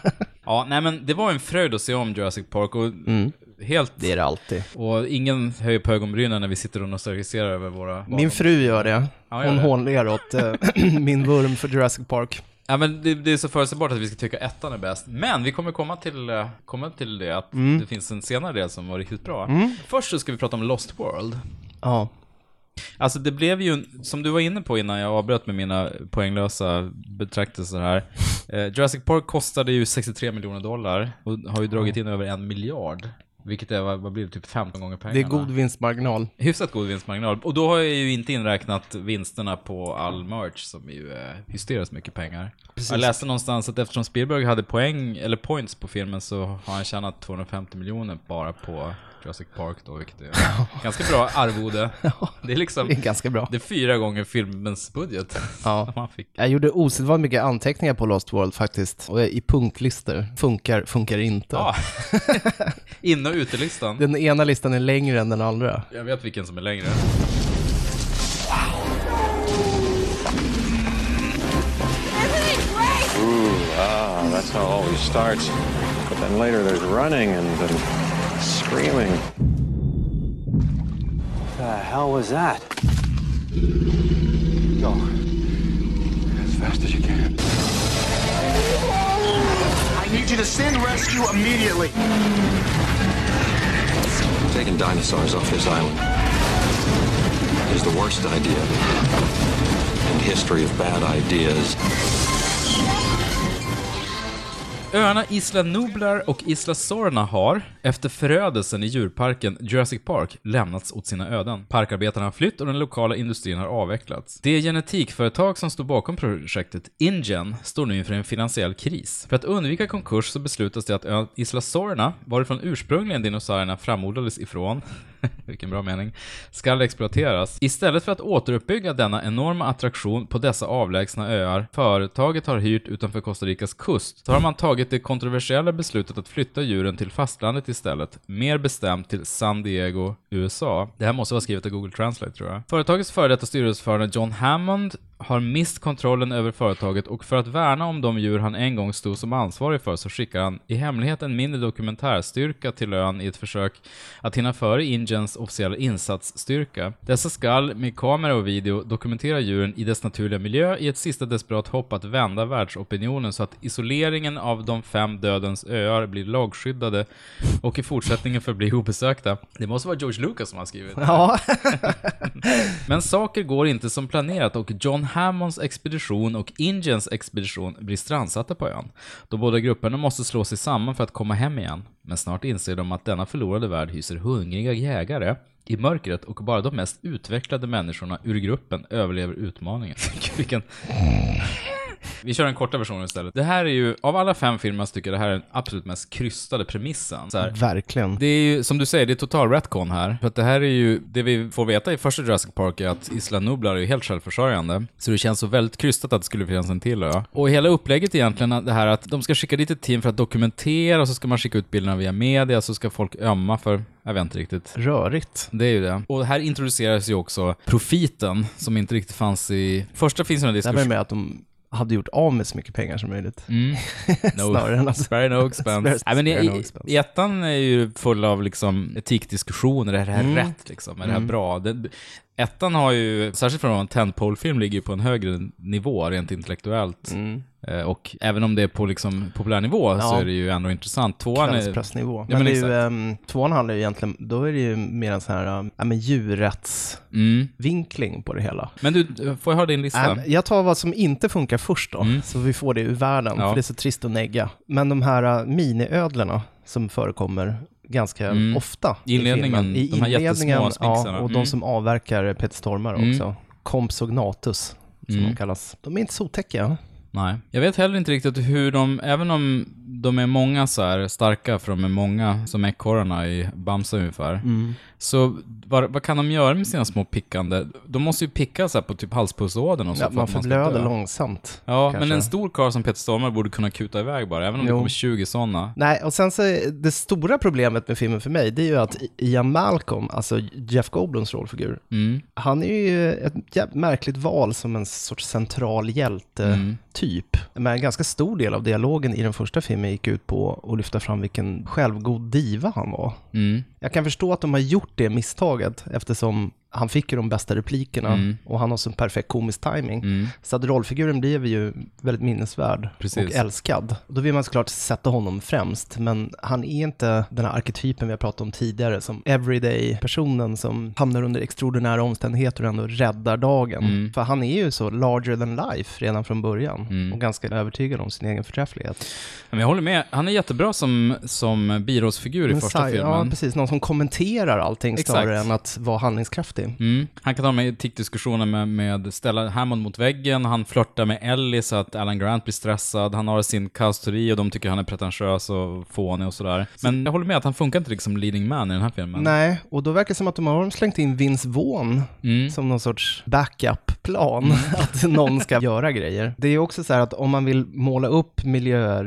Speaker 1: Ja, nej men det var en fröjd att se om Jurassic Park och
Speaker 2: Mm.
Speaker 1: helt...
Speaker 2: det är det alltid.
Speaker 1: Och ingen höjer på ögonbrynen när vi sitter och nostalgiserar över våra...
Speaker 2: Min fru gör det.
Speaker 1: Ja, gör
Speaker 2: Hon
Speaker 1: det.
Speaker 2: hånler åt [CLEARS THROAT] eh, min vurm för Jurassic Park.
Speaker 1: Ja, men det, det är så förutsägbart att vi ska tycka ettan är bäst. Men vi kommer komma till, eh, komma till det, att
Speaker 2: Mm.
Speaker 1: det finns en senare del som var riktigt bra. Först så ska vi prata om Lost World.
Speaker 2: Ja,
Speaker 1: Alltså det blev ju, en- som du var inne på innan jag avbröt med mina poänglösa betraktelser
Speaker 2: [LAUGHS]
Speaker 1: här. Eh, Jurassic Park kostade ju 63 miljoner dollar och har ju dragit in över en miljard. Vilket är, vad vad blir det, typ 15 gånger pengarna?
Speaker 2: det är god vinstmarginal.
Speaker 1: Hyfsat god vinstmarginal. Och då har jag ju inte inräknat vinsterna på all merch som ju är hysteriskt mycket pengar. Jag läste någonstans att eftersom Spielberg hade poäng, eller points på filmen så har han tjänat 250 miljoner bara på Jurassic Park då, vilket
Speaker 2: [LAUGHS]
Speaker 1: är ganska bra arvode. Det är liksom...
Speaker 2: Det är ganska bra.
Speaker 1: Det är fyra gånger filmens budget. [LAUGHS]
Speaker 2: Ja.
Speaker 1: som han fick.
Speaker 2: Jag gjorde osedvanligt mycket anteckningar på Lost World faktiskt, och i punktlistor. Funkar, funkar inte. [LAUGHS]
Speaker 1: Ja. In och utelistan.
Speaker 2: Den ena listan är längre än den andra.
Speaker 1: Jag vet vilken som är längre.
Speaker 8: Ah, that's how it always starts. But then later there's running and, and screaming. The hell was that?
Speaker 3: Go. As fast as you can.
Speaker 5: I need you to send rescue immediately.
Speaker 7: Taking dinosaurs off this island is the worst idea in history of bad ideas.
Speaker 1: Öarna Isla Nublar och Isla Sorna har, efter förödelsen i djurparken Jurassic Park, lämnats åt sina öden. Parkarbetarna har flytt och den lokala industrin har avvecklats. Det genetikföretag som stod bakom projektet, InGen, står nu inför en finansiell kris. För att undvika konkurs så beslutas det att ön Isla Sorna, varifrån ursprungligen dinosaurierna framodlades ifrån, [LAUGHS] vilken bra mening, skall exploateras. Istället för att återuppbygga denna enorma attraktion på dessa avlägsna öar företaget har hyrt utanför Costa Ricas kust, så har man tagit det kontroversiella beslutet att flytta djuren till fastlandet istället, mer bestämt till San Diego, USA. Det här måste vara skrivet av Google Translate tror jag. Företagets före detta styrelseordförande John Hammond har mist kontrollen över företaget och för att värna om de djur han en gång stod som ansvarig för så skickar han i hemlighet en mindre dokumentärstyrka till ön i ett försök att hinna före Indians officiella insatsstyrka. Dessa skall med kamera och video dokumentera djuren i dess naturliga miljö i ett sista desperat hopp att vända världsopinionen så att isoleringen av de fem dödens öar blir lagskyddade och i fortsättningen förblir obesökta. Det måste vara George Lucas som har skrivit.
Speaker 2: Ja.
Speaker 1: Men saker går inte som planerat och John Hammonds expedition och Indians expedition blir strandsatta på ön. De båda grupperna måste slå sig samman för att komma hem igen. Men snart inser de att denna förlorade värld hyser hungriga jägare i mörkret och bara de mest utvecklade människorna ur gruppen överlever utmaningen. [LAUGHS] Gud, Vilken... Vi kör den korta versionen istället. Det här är ju, av alla fem filmer så tycker jag det här är den absolut mest krystade premissen. Så här,
Speaker 2: Verkligen.
Speaker 1: det är ju, som du säger, det är total retcon här. För att det här är ju, det vi får veta i första Jurassic Park är att Isla Nublar är ju helt självförsörjande. Så det känns så väldigt krystat att det skulle finnas en till ö. Och hela upplägget egentligen, är det här att de ska skicka dit ett team för att dokumentera, och så ska man skicka ut bilderna via media, så ska folk ömma för, jag vet inte riktigt.
Speaker 2: Rörigt.
Speaker 1: Det är ju det. Och här introduceras ju också profiten, som inte riktigt fanns i... Första finns ju en
Speaker 2: Där var det
Speaker 1: diskussion...
Speaker 2: med att de hade gjort av med så mycket pengar som möjligt. [LAUGHS] Snarare än att...
Speaker 1: Spare no expense.
Speaker 2: Spare-
Speaker 1: Nej, men i,
Speaker 2: spare no
Speaker 1: i,
Speaker 2: expense.
Speaker 1: i ettan är ju full av liksom etikdiskussioner. Är det här
Speaker 2: Mm.
Speaker 1: rätt liksom? Är det här bra? Den, ettan har ju, särskilt för att vara en tentpole-film, ligger ju på en högre nivå rent intellektuellt. Eh, Och även om det är på liksom populärnivå så
Speaker 2: Mm. Ja.
Speaker 1: är det ju ändå intressant. Tvåan är...
Speaker 2: Kvällspressnivå. men
Speaker 1: men
Speaker 2: det är ju,
Speaker 1: exakt.
Speaker 2: ehm, tvåan handlar ju egentligen, då är det ju mer en sån här, ehm, ja
Speaker 1: Mm.
Speaker 2: men djurrättsvinkling på det hela.
Speaker 1: Men du, får jag höra din lista?
Speaker 2: Ähm, jag tar vad som inte funkar först då, så vi får det ur världen,
Speaker 1: Mm. Ja.
Speaker 2: för det är så trist att negga. Men de här äh, miniödlorna som förekommer ganska ofta
Speaker 1: I Mm. inledningen,
Speaker 2: filmen.
Speaker 1: de här jättesmå
Speaker 2: ja,
Speaker 1: snixarna.
Speaker 2: och
Speaker 1: Mm.
Speaker 2: de som avverkar Peter Stormare också. Compsognatus, som
Speaker 1: Mm.
Speaker 2: de kallas. De är inte så otäcka.
Speaker 1: Nej. Jag vet heller inte riktigt hur de, även om de är många så här starka, för de är många som ekorrarna i Bamse ungefär.
Speaker 2: Mm.
Speaker 1: Så vad, vad kan de göra med sina små pickande? De måste ju picka så här på typ halspulsådern och så.
Speaker 2: Ja,
Speaker 1: för
Speaker 2: man
Speaker 1: att ska
Speaker 2: förblöder
Speaker 1: dö.
Speaker 2: långsamt.
Speaker 1: Ja, men
Speaker 2: kanske.
Speaker 1: en stor karl som Peter Stormare borde kunna kuta iväg bara, även om det
Speaker 2: Jo.
Speaker 1: kommer 20 sådana.
Speaker 2: Nej, och sen så är det stora problemet med filmen för mig, det är ju att Ian Malcolm, alltså Jeff Goldblums rollfigur, han är ju ett jävligt märkligt val som en sorts central hjälte-typ. Men en ganska stor del av dialogen i den första filmen gick ut på att lyfta fram vilken självgod diva han var. Jag kan förstå att de har gjort det misstaget eftersom han fick ju de bästa replikerna
Speaker 1: Mm.
Speaker 2: och han har sån perfekt komisk timing. Så att rollfiguren blev ju väldigt minnesvärd
Speaker 1: Precis.
Speaker 2: och älskad. Då vill man såklart sätta honom främst, men han är inte den här arketypen vi har pratat om tidigare, som everyday-personen som hamnar under extraordinära omständigheter och ändå räddar dagen.
Speaker 1: Mm.
Speaker 2: För han är ju så larger than life redan från början och ganska övertygad om sin egen förträfflighet.
Speaker 1: Men jag håller med, han är jättebra som, som birollsfigur i
Speaker 2: En
Speaker 1: första
Speaker 2: sci-
Speaker 1: filmen.
Speaker 2: Ja, precis. Någon som kommenterar allting snarare
Speaker 1: Exakt.
Speaker 2: än att vara handlingskraftig.
Speaker 1: Mm. Han kan ta med etikdiskussioner med, med ställa Hammond mot väggen, han flörtar med Ellie så att Alan Grant blir stressad, han har sin kaosteori och de tycker han är pretentiös och fånig och sådär. Men jag håller med att han funkar inte liksom leading man i den här filmen.
Speaker 2: Nej, och då verkar det som att de har slängt in Vince Vaughn
Speaker 1: Mm.
Speaker 2: som någon sorts backup-plan, [LAUGHS] att någon ska göra grejer. Det är också så här att om man vill måla upp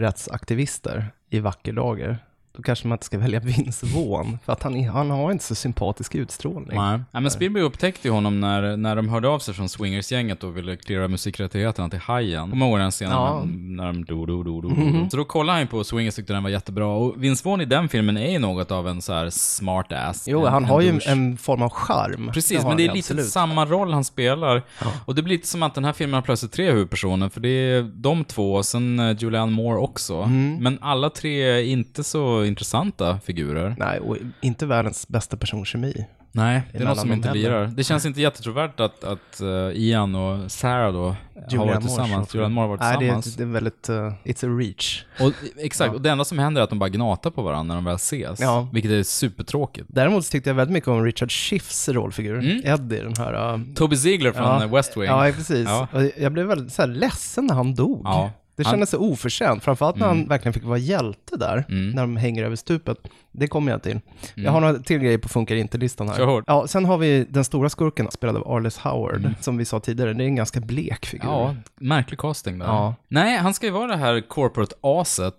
Speaker 2: miljörättsaktivister i vacker dager, då kanske man inte ska välja Vince Vaughn, för att han, är- han har inte så sympatisk utstrålning.
Speaker 1: Nej. Ja, men Spielberg upptäckte ju honom när, när de hörde av sig från swingersgänget och ville cleara musikrättigheterna till Hajen. Kommer ihåg den scenen
Speaker 2: Ja.
Speaker 1: när, när de do, do, do, do, do. Så då kollade han ju på swingers tyckte den var jättebra. Och Vince Vaughn i den filmen är ju något av en så här smart ass.
Speaker 2: Jo,
Speaker 1: en,
Speaker 2: han har ju
Speaker 1: douche.
Speaker 2: en form av charm.
Speaker 1: Precis,
Speaker 2: har
Speaker 1: men det är
Speaker 2: han
Speaker 1: lite
Speaker 2: absolut.
Speaker 1: samma roll han spelar. Och det blir lite som att den här filmen har plötsligt tre huvudpersoner, för det är de två och sen eh, Julianne Moore också.
Speaker 2: Mm.
Speaker 1: Men alla tre är inte så intressanta figurer.
Speaker 2: Nej, och inte världens bästa personkemi.
Speaker 1: Nej, det är
Speaker 2: Emellan
Speaker 1: något som
Speaker 2: dem
Speaker 1: inte
Speaker 2: heller.
Speaker 1: lirar. Det känns inte jättetrovärdigt att, att eh, Ian och Sarah då har varit tillsammans. Julianne Moore har varit
Speaker 2: Nej, det är,
Speaker 1: tillsammans.
Speaker 2: det är väldigt, eh, it's a reach.
Speaker 1: Och, exakt, och det enda som händer är att de bara gnatar på varandra när de väl ses.
Speaker 2: Ja.
Speaker 1: Vilket är supertråkigt.
Speaker 2: Däremot så tyckte jag väldigt mycket om Richard Schiffs rollfigur,
Speaker 1: Mm.
Speaker 2: Eddie, den här... äh,
Speaker 1: Toby Ziegler från
Speaker 2: ja,
Speaker 1: eh, West Wing.
Speaker 2: Ja, precis.
Speaker 1: Ja.
Speaker 2: Och Jag blev väldigt så här, ledsen när han dog.
Speaker 1: Ja.
Speaker 2: Det
Speaker 1: Han- Mm.
Speaker 2: kändes så oförtjänt, framförallt när han verkligen fick vara hjälte där, när de hänger över stupet. Det kommer jag till. Jag har några till grejer på Funkar inte-listan här.
Speaker 1: Mm. Kör hårt. Mm.
Speaker 2: Ja, sen har vi den stora skurken, spelad av Arliss Howard, som vi sa tidigare, det är en ganska blek figur.
Speaker 1: Ja, märklig casting där.
Speaker 2: Ja. Mm.
Speaker 1: Nej, han ska ju vara det här corporate-aset.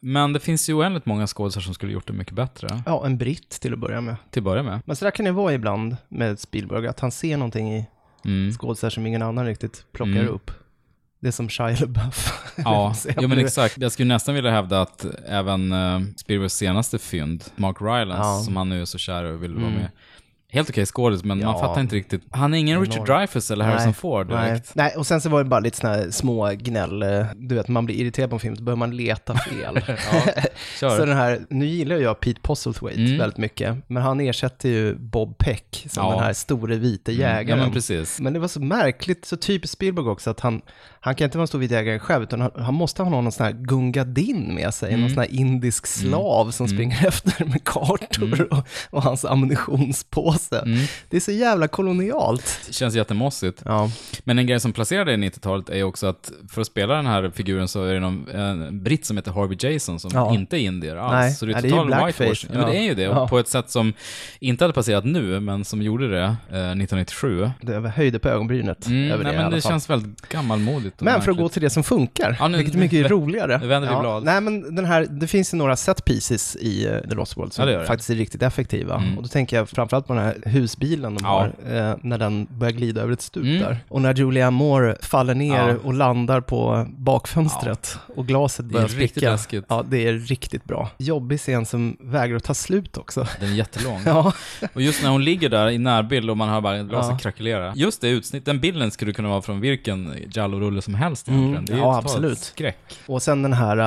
Speaker 1: Men det finns ju oändligt många skådespelare som skulle gjort det mycket bättre,
Speaker 2: ja, en britt till att börja med. [LAUGHS]
Speaker 1: till att börja med.
Speaker 2: Men så där kan det vara ibland med Spielberg, att han ser någonting i
Speaker 1: Mm.
Speaker 2: skådisar som ingen annan riktigt plockar upp. Det är som Shia LaBeouf. [LAUGHS]
Speaker 1: Ja,
Speaker 2: Sen
Speaker 1: jo, men
Speaker 2: blir-
Speaker 1: exakt. Jag skulle nästan vilja hävda att även uh, Spielbergs senaste fynd, Mark Rylance,
Speaker 2: Ja. Mm.
Speaker 1: som han nu är så kär och vill vara med, helt okej skådis, men man
Speaker 2: Ja.
Speaker 1: fattar inte riktigt. Han är ingen Richard Dreyfuss eller Harrison Ford
Speaker 2: nej.
Speaker 1: direkt.
Speaker 2: nej, och sen så var det bara lite såna här små gnäll, eh, du vet man blir irriterad på en film, så börjar man
Speaker 1: [LAUGHS]
Speaker 2: leta fel.
Speaker 1: kör.
Speaker 2: så den här, nu gillar jag Pete Postlethwaite väldigt mycket, men han ersätter ju Bob Peck som
Speaker 1: Mm. Ja. Mm.
Speaker 2: den här store vita jägaren.
Speaker 1: Ja, men precis.
Speaker 2: Men det var så märkligt, så typiskt Spielberg också, att han, han kan inte vara en stor vit jägare själv, utan han, han måste ha någon sån här Gunga Din med sig,
Speaker 1: Mm.
Speaker 2: någon sån här indisk slav som springer [LAUGHS] efter med kartor
Speaker 1: Mm.
Speaker 2: och, och hans ammunitionspåse. Det är så jävla kolonialt.
Speaker 1: Det känns jättemossigt.
Speaker 2: Ja.
Speaker 1: Men en grej som placerar det i 90-talet är ju också att för att spela den här figuren så är det någon en britt som heter Harvey Jason som
Speaker 2: Ja.
Speaker 1: inte är indier alls.
Speaker 2: Nej,
Speaker 1: Så det är
Speaker 2: nej, det är ju
Speaker 1: total
Speaker 2: blackface.
Speaker 1: whitewash. Ja, men det är ju det,
Speaker 2: Ja.
Speaker 1: på ett sätt som inte hade passerat nu, men som gjorde det eh, 1997.
Speaker 2: Det var höjde på ögonbrynet
Speaker 1: Mm, nej,
Speaker 2: över det i
Speaker 1: men
Speaker 2: alla
Speaker 1: det
Speaker 2: fall.
Speaker 1: känns väldigt gammalmodigt. och
Speaker 2: Men för att
Speaker 1: märkligt.
Speaker 2: gå till det som funkar,
Speaker 1: Ja, nu-
Speaker 2: vilket är mycket
Speaker 1: nu-
Speaker 2: roligare.
Speaker 1: nu vänder vi blad.
Speaker 2: Nej, men den här, det finns ju några set pieces i eh, The Lost World
Speaker 1: Ja,
Speaker 2: som
Speaker 1: det gör det. Mm.
Speaker 2: faktiskt är riktigt effektiva. Och då tänker jag framförallt på den här husbilen de
Speaker 1: Ja. Mm.
Speaker 2: har, eh, när den börjar glida över ett stup där. Och när Julia Moore faller ner
Speaker 1: Ja.
Speaker 2: och landar på bakfönstret och glaset
Speaker 1: är
Speaker 2: börjar
Speaker 1: riktigt
Speaker 2: spricka.
Speaker 1: läskigt.
Speaker 2: Ja, det är riktigt bra. Jobbig scen som vägrar att ta slut också. [LAUGHS]
Speaker 1: Den är jättelång.
Speaker 2: Ja,
Speaker 1: Och just när hon ligger där i närbild och man hör bara glaset
Speaker 2: Ja.
Speaker 1: krackelera. Just det utsnitt, den bilden skulle kunna vara från vilken Jallo-rulle som helst egentligen. Det är ju
Speaker 2: Mm. ja,
Speaker 1: totalt
Speaker 2: absolut.
Speaker 1: skräck.
Speaker 2: och sen den här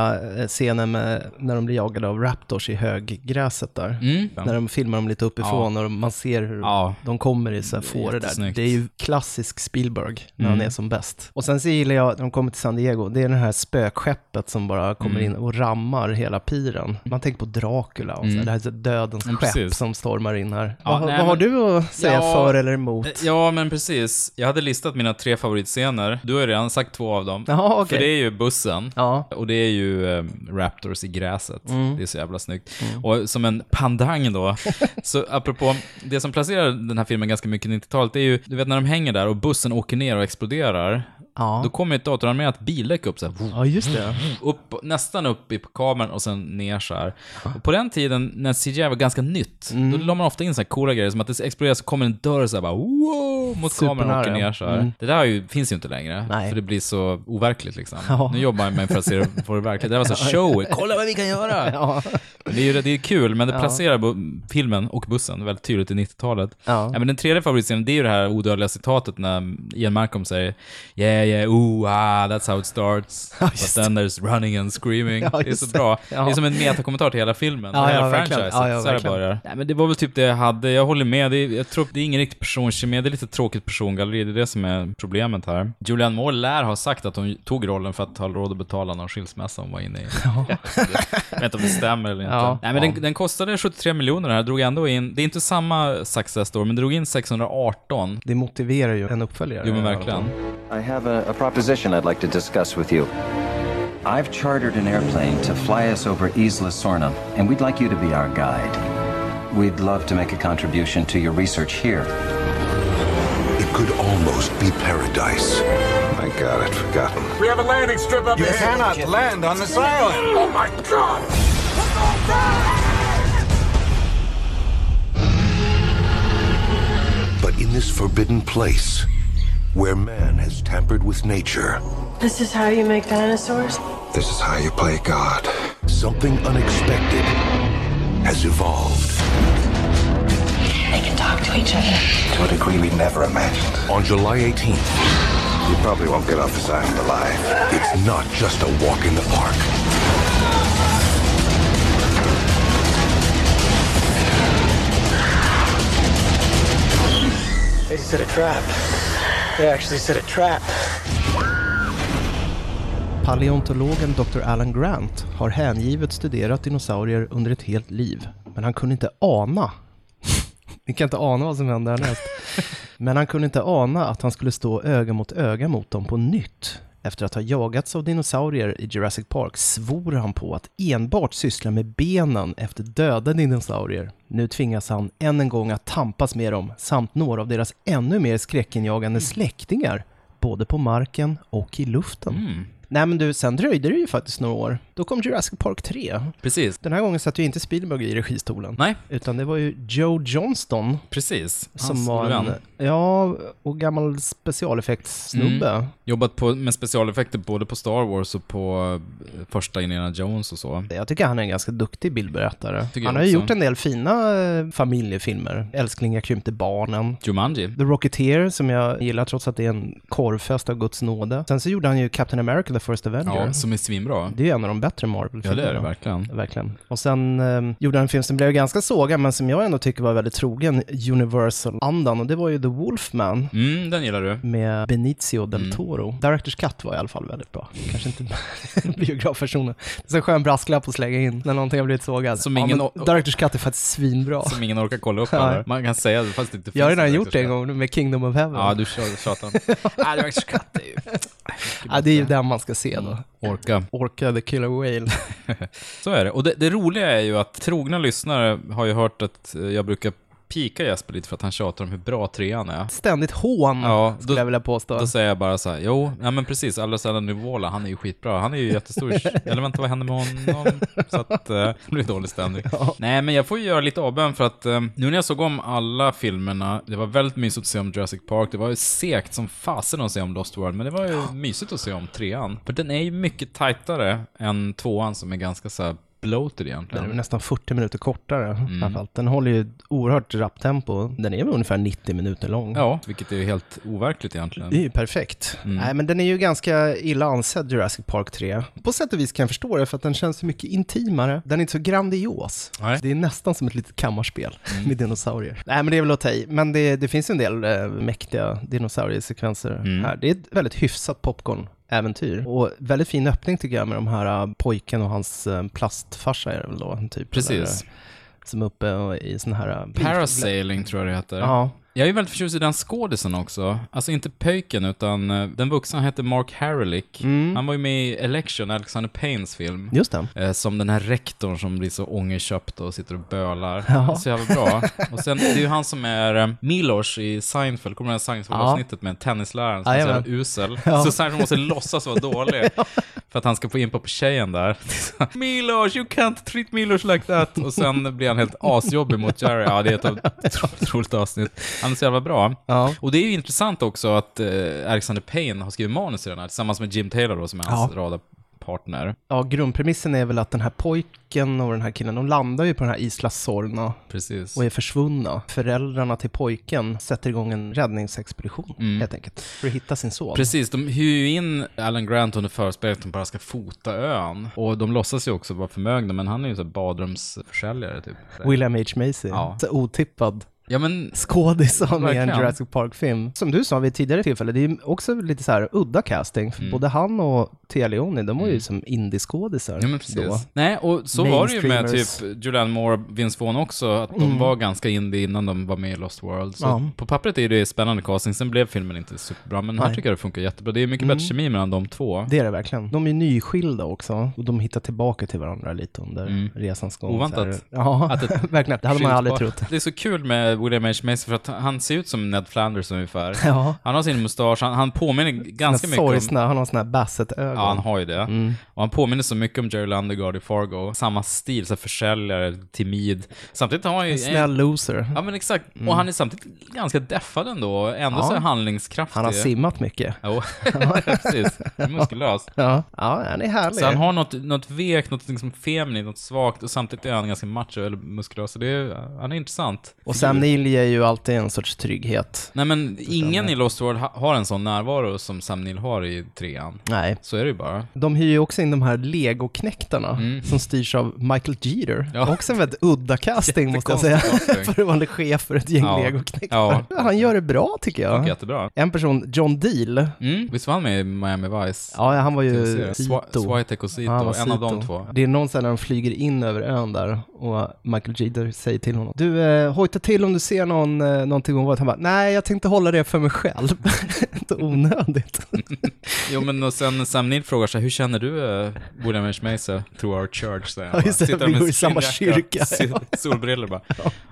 Speaker 2: eh, scenen med, när de blir jagade av raptors i höggräset där.
Speaker 1: Mm.
Speaker 2: När de filmar dem lite uppifrån och de- man ser hur
Speaker 1: Ja.
Speaker 2: de kommer i så här fåror där.
Speaker 1: Jättesnyggt. Mm.
Speaker 2: Det är ju klassisk Spielberg när han är som bäst. Och sen så gillar jag när de kommer till San Diego, det är det här spökskeppet som bara kommer
Speaker 1: Mm.
Speaker 2: in och rammar hela piren. Man tänker på Dracula och så här, det här är så dödens
Speaker 1: Mm,
Speaker 2: skepp
Speaker 1: precis.
Speaker 2: som stormar in här. vad har-
Speaker 1: nej,
Speaker 2: vad har
Speaker 1: men-
Speaker 2: du att säga
Speaker 1: Ja,
Speaker 2: för eller emot?
Speaker 1: Eh, Ja, men precis. Jag hade listat mina tre favoritscener. Du har ju redan sagt två av dem.
Speaker 2: Jaha, okej.
Speaker 1: För det är ju bussen.
Speaker 2: Ja. Mm.
Speaker 1: Och det är ju eh, Raptors i gräset. Det är så jävla snyggt. Och som en pandang
Speaker 2: [LAUGHS]
Speaker 1: då, så apropå, det som placerar den här filmen ganska mycket i 90-talet, det är ju, du vet när de hänger där och bussen åker ner och exploderar,
Speaker 2: Ja.
Speaker 1: då kommer ett datoranimerat bildäck upp så här,
Speaker 2: ja, just [GASPS] det.
Speaker 1: upp, nästan upp i kameran och sen ner så här.
Speaker 2: Ah.
Speaker 1: Och på den tiden, när CGI var ganska nytt,
Speaker 2: Mm.
Speaker 1: då la man ofta in så här coola grejer, som att det exploderar så kommer en dörr så här bara wow, mot kameran och åker
Speaker 2: Supernära.
Speaker 1: ner så här.
Speaker 2: Mm.
Speaker 1: Det där är ju, finns ju inte längre,
Speaker 2: Nej.
Speaker 1: för det blir så overkligt liksom.
Speaker 2: Ja.
Speaker 1: Nu jobbar man för att se det, för det verkligt. Det där var så här
Speaker 2: [LAUGHS]
Speaker 1: show, kolla vad vi kan göra!
Speaker 2: Ja.
Speaker 1: Det är ju det är kul, men det placerar bu- filmen och bussen väldigt tydligt i 90-talet.
Speaker 2: Ja.
Speaker 1: men den tredje favoritscenen, det är ju det här odödliga citatet när Ian Malcolm säger “Yeah, yeah, ooh, ah, that's how it starts,
Speaker 2: [LAUGHS] Ja,
Speaker 1: but
Speaker 2: just
Speaker 1: then there's running and screaming”.
Speaker 2: Ja,
Speaker 1: det är så
Speaker 2: just det.
Speaker 1: bra.
Speaker 2: Ja.
Speaker 1: Det är som en metakommentar till hela filmen,
Speaker 2: Ja,
Speaker 1: och hela
Speaker 2: ja, verkligen.
Speaker 1: franchiset.
Speaker 2: Ja, ja,
Speaker 1: så här det
Speaker 2: verkligen.
Speaker 1: börjar. Nej, men det var väl typ det jag hade. Jag håller med. Det är, jag tror, det är ingen riktig personkemi, det är lite tråkigt persongalleri. Det är det som är problemet här. Julianne Moore lär ha sagt att hon tog rollen för att ha råd att betala någon skilsmässa hon var inne
Speaker 2: [LAUGHS]
Speaker 1: i. Jag vet inte om det stämmer eller inte.
Speaker 2: Ja.
Speaker 1: Nej, men den, den kostade 73 miljoner här, drog ändå in, det är inte samma success då, men drog in 618.
Speaker 2: Det motiverar ju en uppföljare.
Speaker 1: Jo men verkligen.
Speaker 9: I have a, a proposition I'd like to discuss with you. I've chartered an airplane to fly us over Isla Sorna, and we'd like you to be our guide. We'd love to make a contribution to your research here.
Speaker 5: It could almost be paradise. My God, I'd forgotten.
Speaker 4: We have a landing strip up here.
Speaker 5: cannot land on this island.
Speaker 4: Oh my god!
Speaker 5: But in this forbidden place, where man has tampered with nature,
Speaker 10: This is how you make dinosaurs?
Speaker 5: this is how you play God. Something unexpected has evolved.
Speaker 10: They can talk to each other.
Speaker 5: To a degree we never imagined. On July 18th. You probably won't get off this island alive. It's not just a walk in the park.
Speaker 4: They set a trap. They actually set a trap.
Speaker 2: Paleontologen Dr. Alan Grant har hängivet studerat dinosaurier under ett helt liv, men han kunde inte ana. [LAUGHS] Ni kan inte ana vad som hände härnäst. Men han kunde inte ana att han skulle stå öga mot öga mot dem på nytt. Efter att ha jagats av dinosaurier i Jurassic Park svor han på att enbart syssla med benen efter döda dinosaurier. Nu tvingas han än en gång att tampas med dem samt några av deras ännu mer skräckinjagande släktingar, både på marken och i luften. Nej, men du, sen dröjde det ju faktiskt några år. Då kom Jurassic Park 3.
Speaker 1: Precis.
Speaker 2: Den här gången satt ju inte Spielberg i registolen.
Speaker 1: Nej.
Speaker 2: Utan det var ju Joe Johnston.
Speaker 1: Precis. Hans
Speaker 2: Som var en,
Speaker 1: vän.
Speaker 2: ja, och gammal specialeffektssnubbe.
Speaker 1: Mm. Jobbat på, med specialeffekter både på Star Wars och på eh, första Indiana Jones och så.
Speaker 2: Jag tycker han är en ganska duktig bildberättare.
Speaker 1: Tycker
Speaker 2: han
Speaker 1: jag
Speaker 2: har ju
Speaker 1: också.
Speaker 2: gjort en del fina eh, familjefilmer. Älskling, jag krympte barnen.
Speaker 1: Jumanji.
Speaker 2: The Rocketeer, som jag gillar trots att det är en korvfest av Guds nåde. Sen så gjorde han ju Captain America, The First Avenger.
Speaker 1: Ja, som är svinbra.
Speaker 2: Det är en av de bättre Marvel-filmerna.
Speaker 1: Ja, det är det verkligen.
Speaker 2: Verkligen. Och sen eh, gjorde han en film som blev ganska sågad, men som jag ändå tycker var väldigt trogen Universal-andan, och det var ju The Wolfman
Speaker 1: Mm, den gillar du.
Speaker 2: med Benicio
Speaker 1: Mm.
Speaker 2: del Toro. Directors Cut var i alla fall väldigt bra. Kanske inte [LAUGHS] biografversionen. Det är så en skön brasklapp att slänga in när någonting har blivit sågat.
Speaker 1: Som
Speaker 2: ja,
Speaker 1: ingen
Speaker 2: men Directors Cut är faktiskt svinbra.
Speaker 1: Som ingen orkar kolla
Speaker 2: [LAUGHS]
Speaker 1: upp
Speaker 2: Nej.
Speaker 1: heller. Man kan säga det fast det inte finns.
Speaker 2: Jag har redan
Speaker 1: en
Speaker 2: gjort det en
Speaker 1: director's cut.
Speaker 2: gång med Kingdom of Heaven.
Speaker 1: Ja, du tjat-
Speaker 2: [LAUGHS]
Speaker 1: tjatar. Nej, Director's Cut är ju...
Speaker 2: Ja, det är ju den man ska se då.
Speaker 1: Mm. Orka.
Speaker 2: Orca the Killer Whale.
Speaker 1: Så är det. Och det, det roliga är ju att trogna lyssnare har ju hört att eh, jag brukar pika Jesper lite för att han tjatar om hur bra trean är.
Speaker 2: Ständigt hån,
Speaker 1: Ja,
Speaker 2: skulle
Speaker 1: då-
Speaker 2: jag vilja påstå.
Speaker 1: Då säger jag bara så här, jo, ja men precis, Alessandro Nivola, han är ju skitbra, han är ju jättestor, eller vänta vad händer med honom? Så att eh, det blir dålig stämning. Nej men jag får ju göra lite avbön för att eh, nu när jag såg om alla filmerna, det var väldigt mysigt att se om Jurassic Park, det var ju segt som fasen att se om Lost World, men det var ju mysigt att se om trean. För den är ju mycket tajtare än tvåan som är ganska så här bloated
Speaker 2: Den är väl
Speaker 1: egentligen. Mm.
Speaker 2: nästan 40 minuter kortare framförallt. Den håller ju ett oerhört rappt tempo. Den är väl ungefär 90 minuter lång.
Speaker 1: Ja, vilket är ju helt overkligt egentligen.
Speaker 2: Det är ju perfekt.
Speaker 1: Mm.
Speaker 2: Nej, men den är ju ganska illa ansedd, Jurassic Park 3. På sätt och vis kan jag förstå det, för att den känns så mycket intimare. Den är inte så grandios.
Speaker 1: Nej. Mm.
Speaker 2: Det är nästan som ett litet kammarspel med dinosaurier. Nej, men det är väl att ta i. Men det, det finns ju en del eh, mäktiga dinosauriesekvenser
Speaker 1: Mm.
Speaker 2: här. Det är ett väldigt hyfsat popcorn äventyr. Och väldigt fin öppning tycker jag med de här eh, pojken och hans eh, plastfarsa är det väl då, typ.
Speaker 1: Precis.
Speaker 2: Eller, som är uppe och i sån här... eh,
Speaker 1: Parasailing tror jag det heter.
Speaker 2: Ja.
Speaker 1: Jag är väldigt förtjust i den skådisen också. Alltså inte pöjken, utan eh, den vuxna hette Mark Harrelick. Han var ju med i Election, Alexander Paynes film.
Speaker 2: Just det.
Speaker 1: Eh, Som den här rektorn som blir så ångerköpt och sitter och bölar. Så jävla
Speaker 2: [LAUGHS]
Speaker 1: bra. Och sen, det är ju han som är eh, Milos i Seinfeld. Kommer du ihåg Seinfeld-avsnittet med tennisläraren som är så
Speaker 2: Jajamän.
Speaker 1: jävla usel? Så Seinfeld måste låtsas vara
Speaker 2: [LAUGHS]
Speaker 1: dålig för att han ska få inpå på tjejen där. [LAUGHS] Milos, you can't treat Milos like that! Och sen blir han helt asjobbig mot Jerry. Ja, det är
Speaker 2: [LAUGHS]
Speaker 1: ett otro- otroligt avsnitt. Han är så jävla bra.
Speaker 2: Ja.
Speaker 1: Och det är ju intressant också att eh, Alexander Payne har skrivit manus till den här tillsammans med Jim Taylor då, som är hans
Speaker 2: Ja.
Speaker 1: radarpartner.
Speaker 2: Ja, grundpremissen är väl att den här pojken och den här killen, de landar ju på den här Isla Sorna
Speaker 1: Precis.
Speaker 2: och är försvunna. Föräldrarna till pojken sätter igång en räddningsexpedition, helt enkelt, för att hitta sin son.
Speaker 1: Mm. Precis, de hyr ju in Alan Grant under förespelet att de bara ska fota ön. Och de låtsas ju också vara förmögna, men han är ju så här badrumsförsäljare typ.
Speaker 2: William H. Macy,
Speaker 1: Ja.
Speaker 2: så otippad
Speaker 1: Ja men,
Speaker 2: skådis som är en
Speaker 1: Verkligen.
Speaker 2: Jurassic Park-film. Som du sa vid ett tidigare tillfälle, det är ju också lite så här udda casting,
Speaker 1: Mm.
Speaker 2: för både han och Thea Leoni, de var ju som indieskådisar
Speaker 1: ja, men precis.
Speaker 2: då.
Speaker 1: Nej, och så var det ju med
Speaker 2: Mainstreamers. Mm.
Speaker 1: typ Julianne Moore och Vince Vaughn också, att de var ganska indie innan de var med i Lost World. Så
Speaker 2: Ja.
Speaker 1: på pappret är det spännande casting, sen blev filmen inte superbra, men här
Speaker 2: Nej. Mm.
Speaker 1: tycker jag det funkar jättebra. Det är mycket bättre kemi mellan de två.
Speaker 2: Det är det verkligen. De är ju nyskilda också och de hittar tillbaka till varandra lite under resans gång.
Speaker 1: Mm. Oväntat.
Speaker 2: Så här- Ja,
Speaker 1: Att ett
Speaker 2: [LAUGHS] verkligen. Det hade man aldrig
Speaker 1: Skilt
Speaker 2: trott.
Speaker 1: par. Det är så kul med William H. Macy för att han ser ut som Ned Flanders ungefär.
Speaker 2: Ja.
Speaker 1: Han har sin mustasch, han, han påminner ganska mycket om...
Speaker 2: Sorgsna, han har såna här Bassett-ögon.
Speaker 1: Ja, han har ju det.
Speaker 2: Mm.
Speaker 1: Och han påminner så mycket om Jerry Landegard i Fargo. Samma stil, så här försäljare, timid. Samtidigt har han ju...
Speaker 2: Snäll loser.
Speaker 1: Ja, men exakt. Och han är samtidigt ganska deffad ändå. Ändå så
Speaker 2: Ja.
Speaker 1: handlingskraftig.
Speaker 2: Han har simmat mycket. [LAUGHS]
Speaker 1: Jo, precis. Muskulös.
Speaker 2: Ja, ja han är härlig.
Speaker 1: Så han har något, något vekt, något liksom feminint, något svagt och samtidigt är han ganska macho eller muskulös. Så det är, han är intressant.
Speaker 2: Och Sam Neill ger ju alltid en sorts trygghet.
Speaker 1: Nej men ingen i Lost World ha, har en sån närvaro som Sam Neill har i trean.
Speaker 2: Nej.
Speaker 1: Så är det ju bara.
Speaker 2: De hyr ju också in de här legoknektarna som styrs av Michael Jeter.
Speaker 1: Mm. Ja.
Speaker 2: Också en väldigt udda casting måste jag säga.
Speaker 1: Jättekonstig [LAUGHS] casting.
Speaker 2: [LAUGHS] för att vara en chef för ett gäng
Speaker 1: Ja.
Speaker 2: legoknektar.
Speaker 1: Ja.
Speaker 2: Han gör det bra tycker jag.
Speaker 1: Jättebra.
Speaker 2: En person, John Deal,
Speaker 1: Mm. Visst var han med i Miami Vice?
Speaker 2: Ja, han var ju
Speaker 1: Tv-serie. Swa-
Speaker 2: Zito.
Speaker 1: Swiatek och Zito,
Speaker 2: Ja, han var
Speaker 1: en av de
Speaker 2: Zito.
Speaker 1: två.
Speaker 2: Det är någon sån här när de flyger in över ön där och Michael Jeter säger till honom. Du, eh, hojta till om du ser någon, eh, någonting om vad han bara, nej jag tänkte hålla det för mig själv. [LAUGHS] Inte onödigt.
Speaker 1: Jo, men och sen Sam Neill frågar sig, hur känner du uh, William H. Macy through our church? Säger han
Speaker 2: Ja,
Speaker 1: bara.
Speaker 2: just det,
Speaker 1: Sitter
Speaker 2: vi
Speaker 1: med
Speaker 2: går i
Speaker 1: sin
Speaker 2: samma
Speaker 1: jacka, [LAUGHS]
Speaker 2: kyrka,
Speaker 1: sin- Solbrillor bara.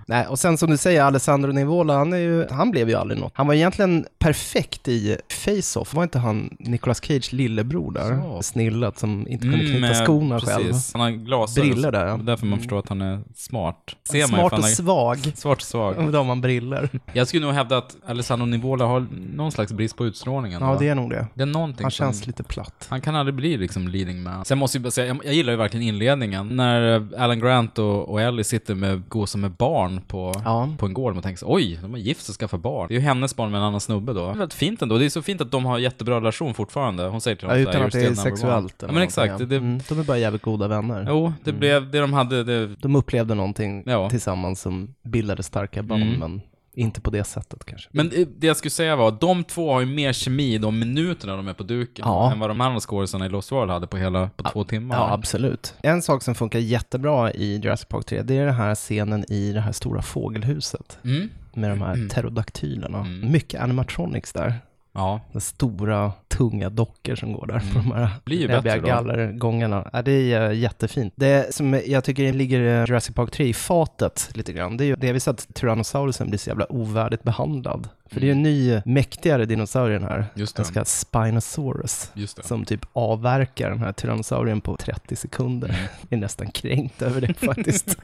Speaker 2: nej, och sen som du säger, Alessandro Nivola, han, är ju, han blev ju aldrig något. Han var egentligen perfekt i Face-Off, var inte han Nicolas Cage lillebror där? Snillet som inte kunde knyta
Speaker 1: eh,
Speaker 2: skorna
Speaker 1: precis.
Speaker 2: själv.
Speaker 1: Han har glasögon.
Speaker 2: Briller där, ja. Mm.
Speaker 1: Därför man förstår att han är smart. Ser man ju,
Speaker 2: Smart
Speaker 1: för han
Speaker 2: och
Speaker 1: är-
Speaker 2: svag.
Speaker 1: Smart och svag.
Speaker 2: Då har
Speaker 1: [LAUGHS]
Speaker 2: man briller.
Speaker 1: Jag skulle nog hävda att Alessandro Nivola har någon slags brist på utstrålningen.
Speaker 2: Ja,
Speaker 1: va?
Speaker 2: det är nog det.
Speaker 1: Det är någonting
Speaker 2: Han
Speaker 1: som-
Speaker 2: känns lite platt.
Speaker 1: Han kan aldrig bli liksom leading man. Sen måste jag bara säga, jag, jag gillar ju verkligen inledningen. När eh, Alan Grant och, och Ellie sitter med, går som med barn på, på en gård. Man tänker så, oj, de är gift och skaffar barn. Det är ju hennes barn med en annan snubbe då. Det är väldigt fint ändå. Det är så fint att de har jättebra relation fortfarande. Hon säger till
Speaker 2: Ja,
Speaker 1: honom så
Speaker 2: utan
Speaker 1: här,
Speaker 2: att
Speaker 1: "You're
Speaker 2: det är
Speaker 1: still number
Speaker 2: sexuellt.
Speaker 1: one."
Speaker 2: eller
Speaker 1: Ja, men
Speaker 2: någonting,
Speaker 1: exakt. Det, det,
Speaker 2: Mm, de är bara jävligt goda vänner.
Speaker 1: Jo, det blev det de hade. Det,
Speaker 2: De upplevde någonting
Speaker 1: Ja.
Speaker 2: tillsammans som bildade starka band,
Speaker 1: Mm.
Speaker 2: men inte på det sättet kanske.
Speaker 1: Men det- det jag skulle säga var att de två har ju mer kemi i de minuterna de är på duken
Speaker 2: Ja.
Speaker 1: än vad de andra skådisarna i Lost World hade på hela, på två timmar.
Speaker 2: Ja, absolut. En sak som funkar jättebra i Jurassic Park 3, det är den här scenen i det här stora fågelhuset.
Speaker 1: Mm.
Speaker 2: Med de här pterodaktylerna. Mycket animatronics där.
Speaker 1: Ja.
Speaker 2: Den stora, tunga dockor som går där på de här
Speaker 1: Mm. Blir ju
Speaker 2: näbbiga
Speaker 1: bättre då.
Speaker 2: gallergångarna. Ja, det är eh, jättefint. Det som jag tycker ligger eh, Jurassic Park 3 i fatet lite grann, det är ju delvis att Tyrannosaurusen blir så jävla ovärdigt behandlad. För det är ju en ny, mäktigare dinosaurie den här.
Speaker 1: Mm. Just det.
Speaker 2: Den ska heta Spinosaurus.
Speaker 1: Just det.
Speaker 2: Som typ avverkar den här tyrannosaurien på 30 sekunder.
Speaker 1: Mm.
Speaker 2: [LAUGHS] Jag är nästan kränkt över det
Speaker 1: [LAUGHS]
Speaker 2: faktiskt.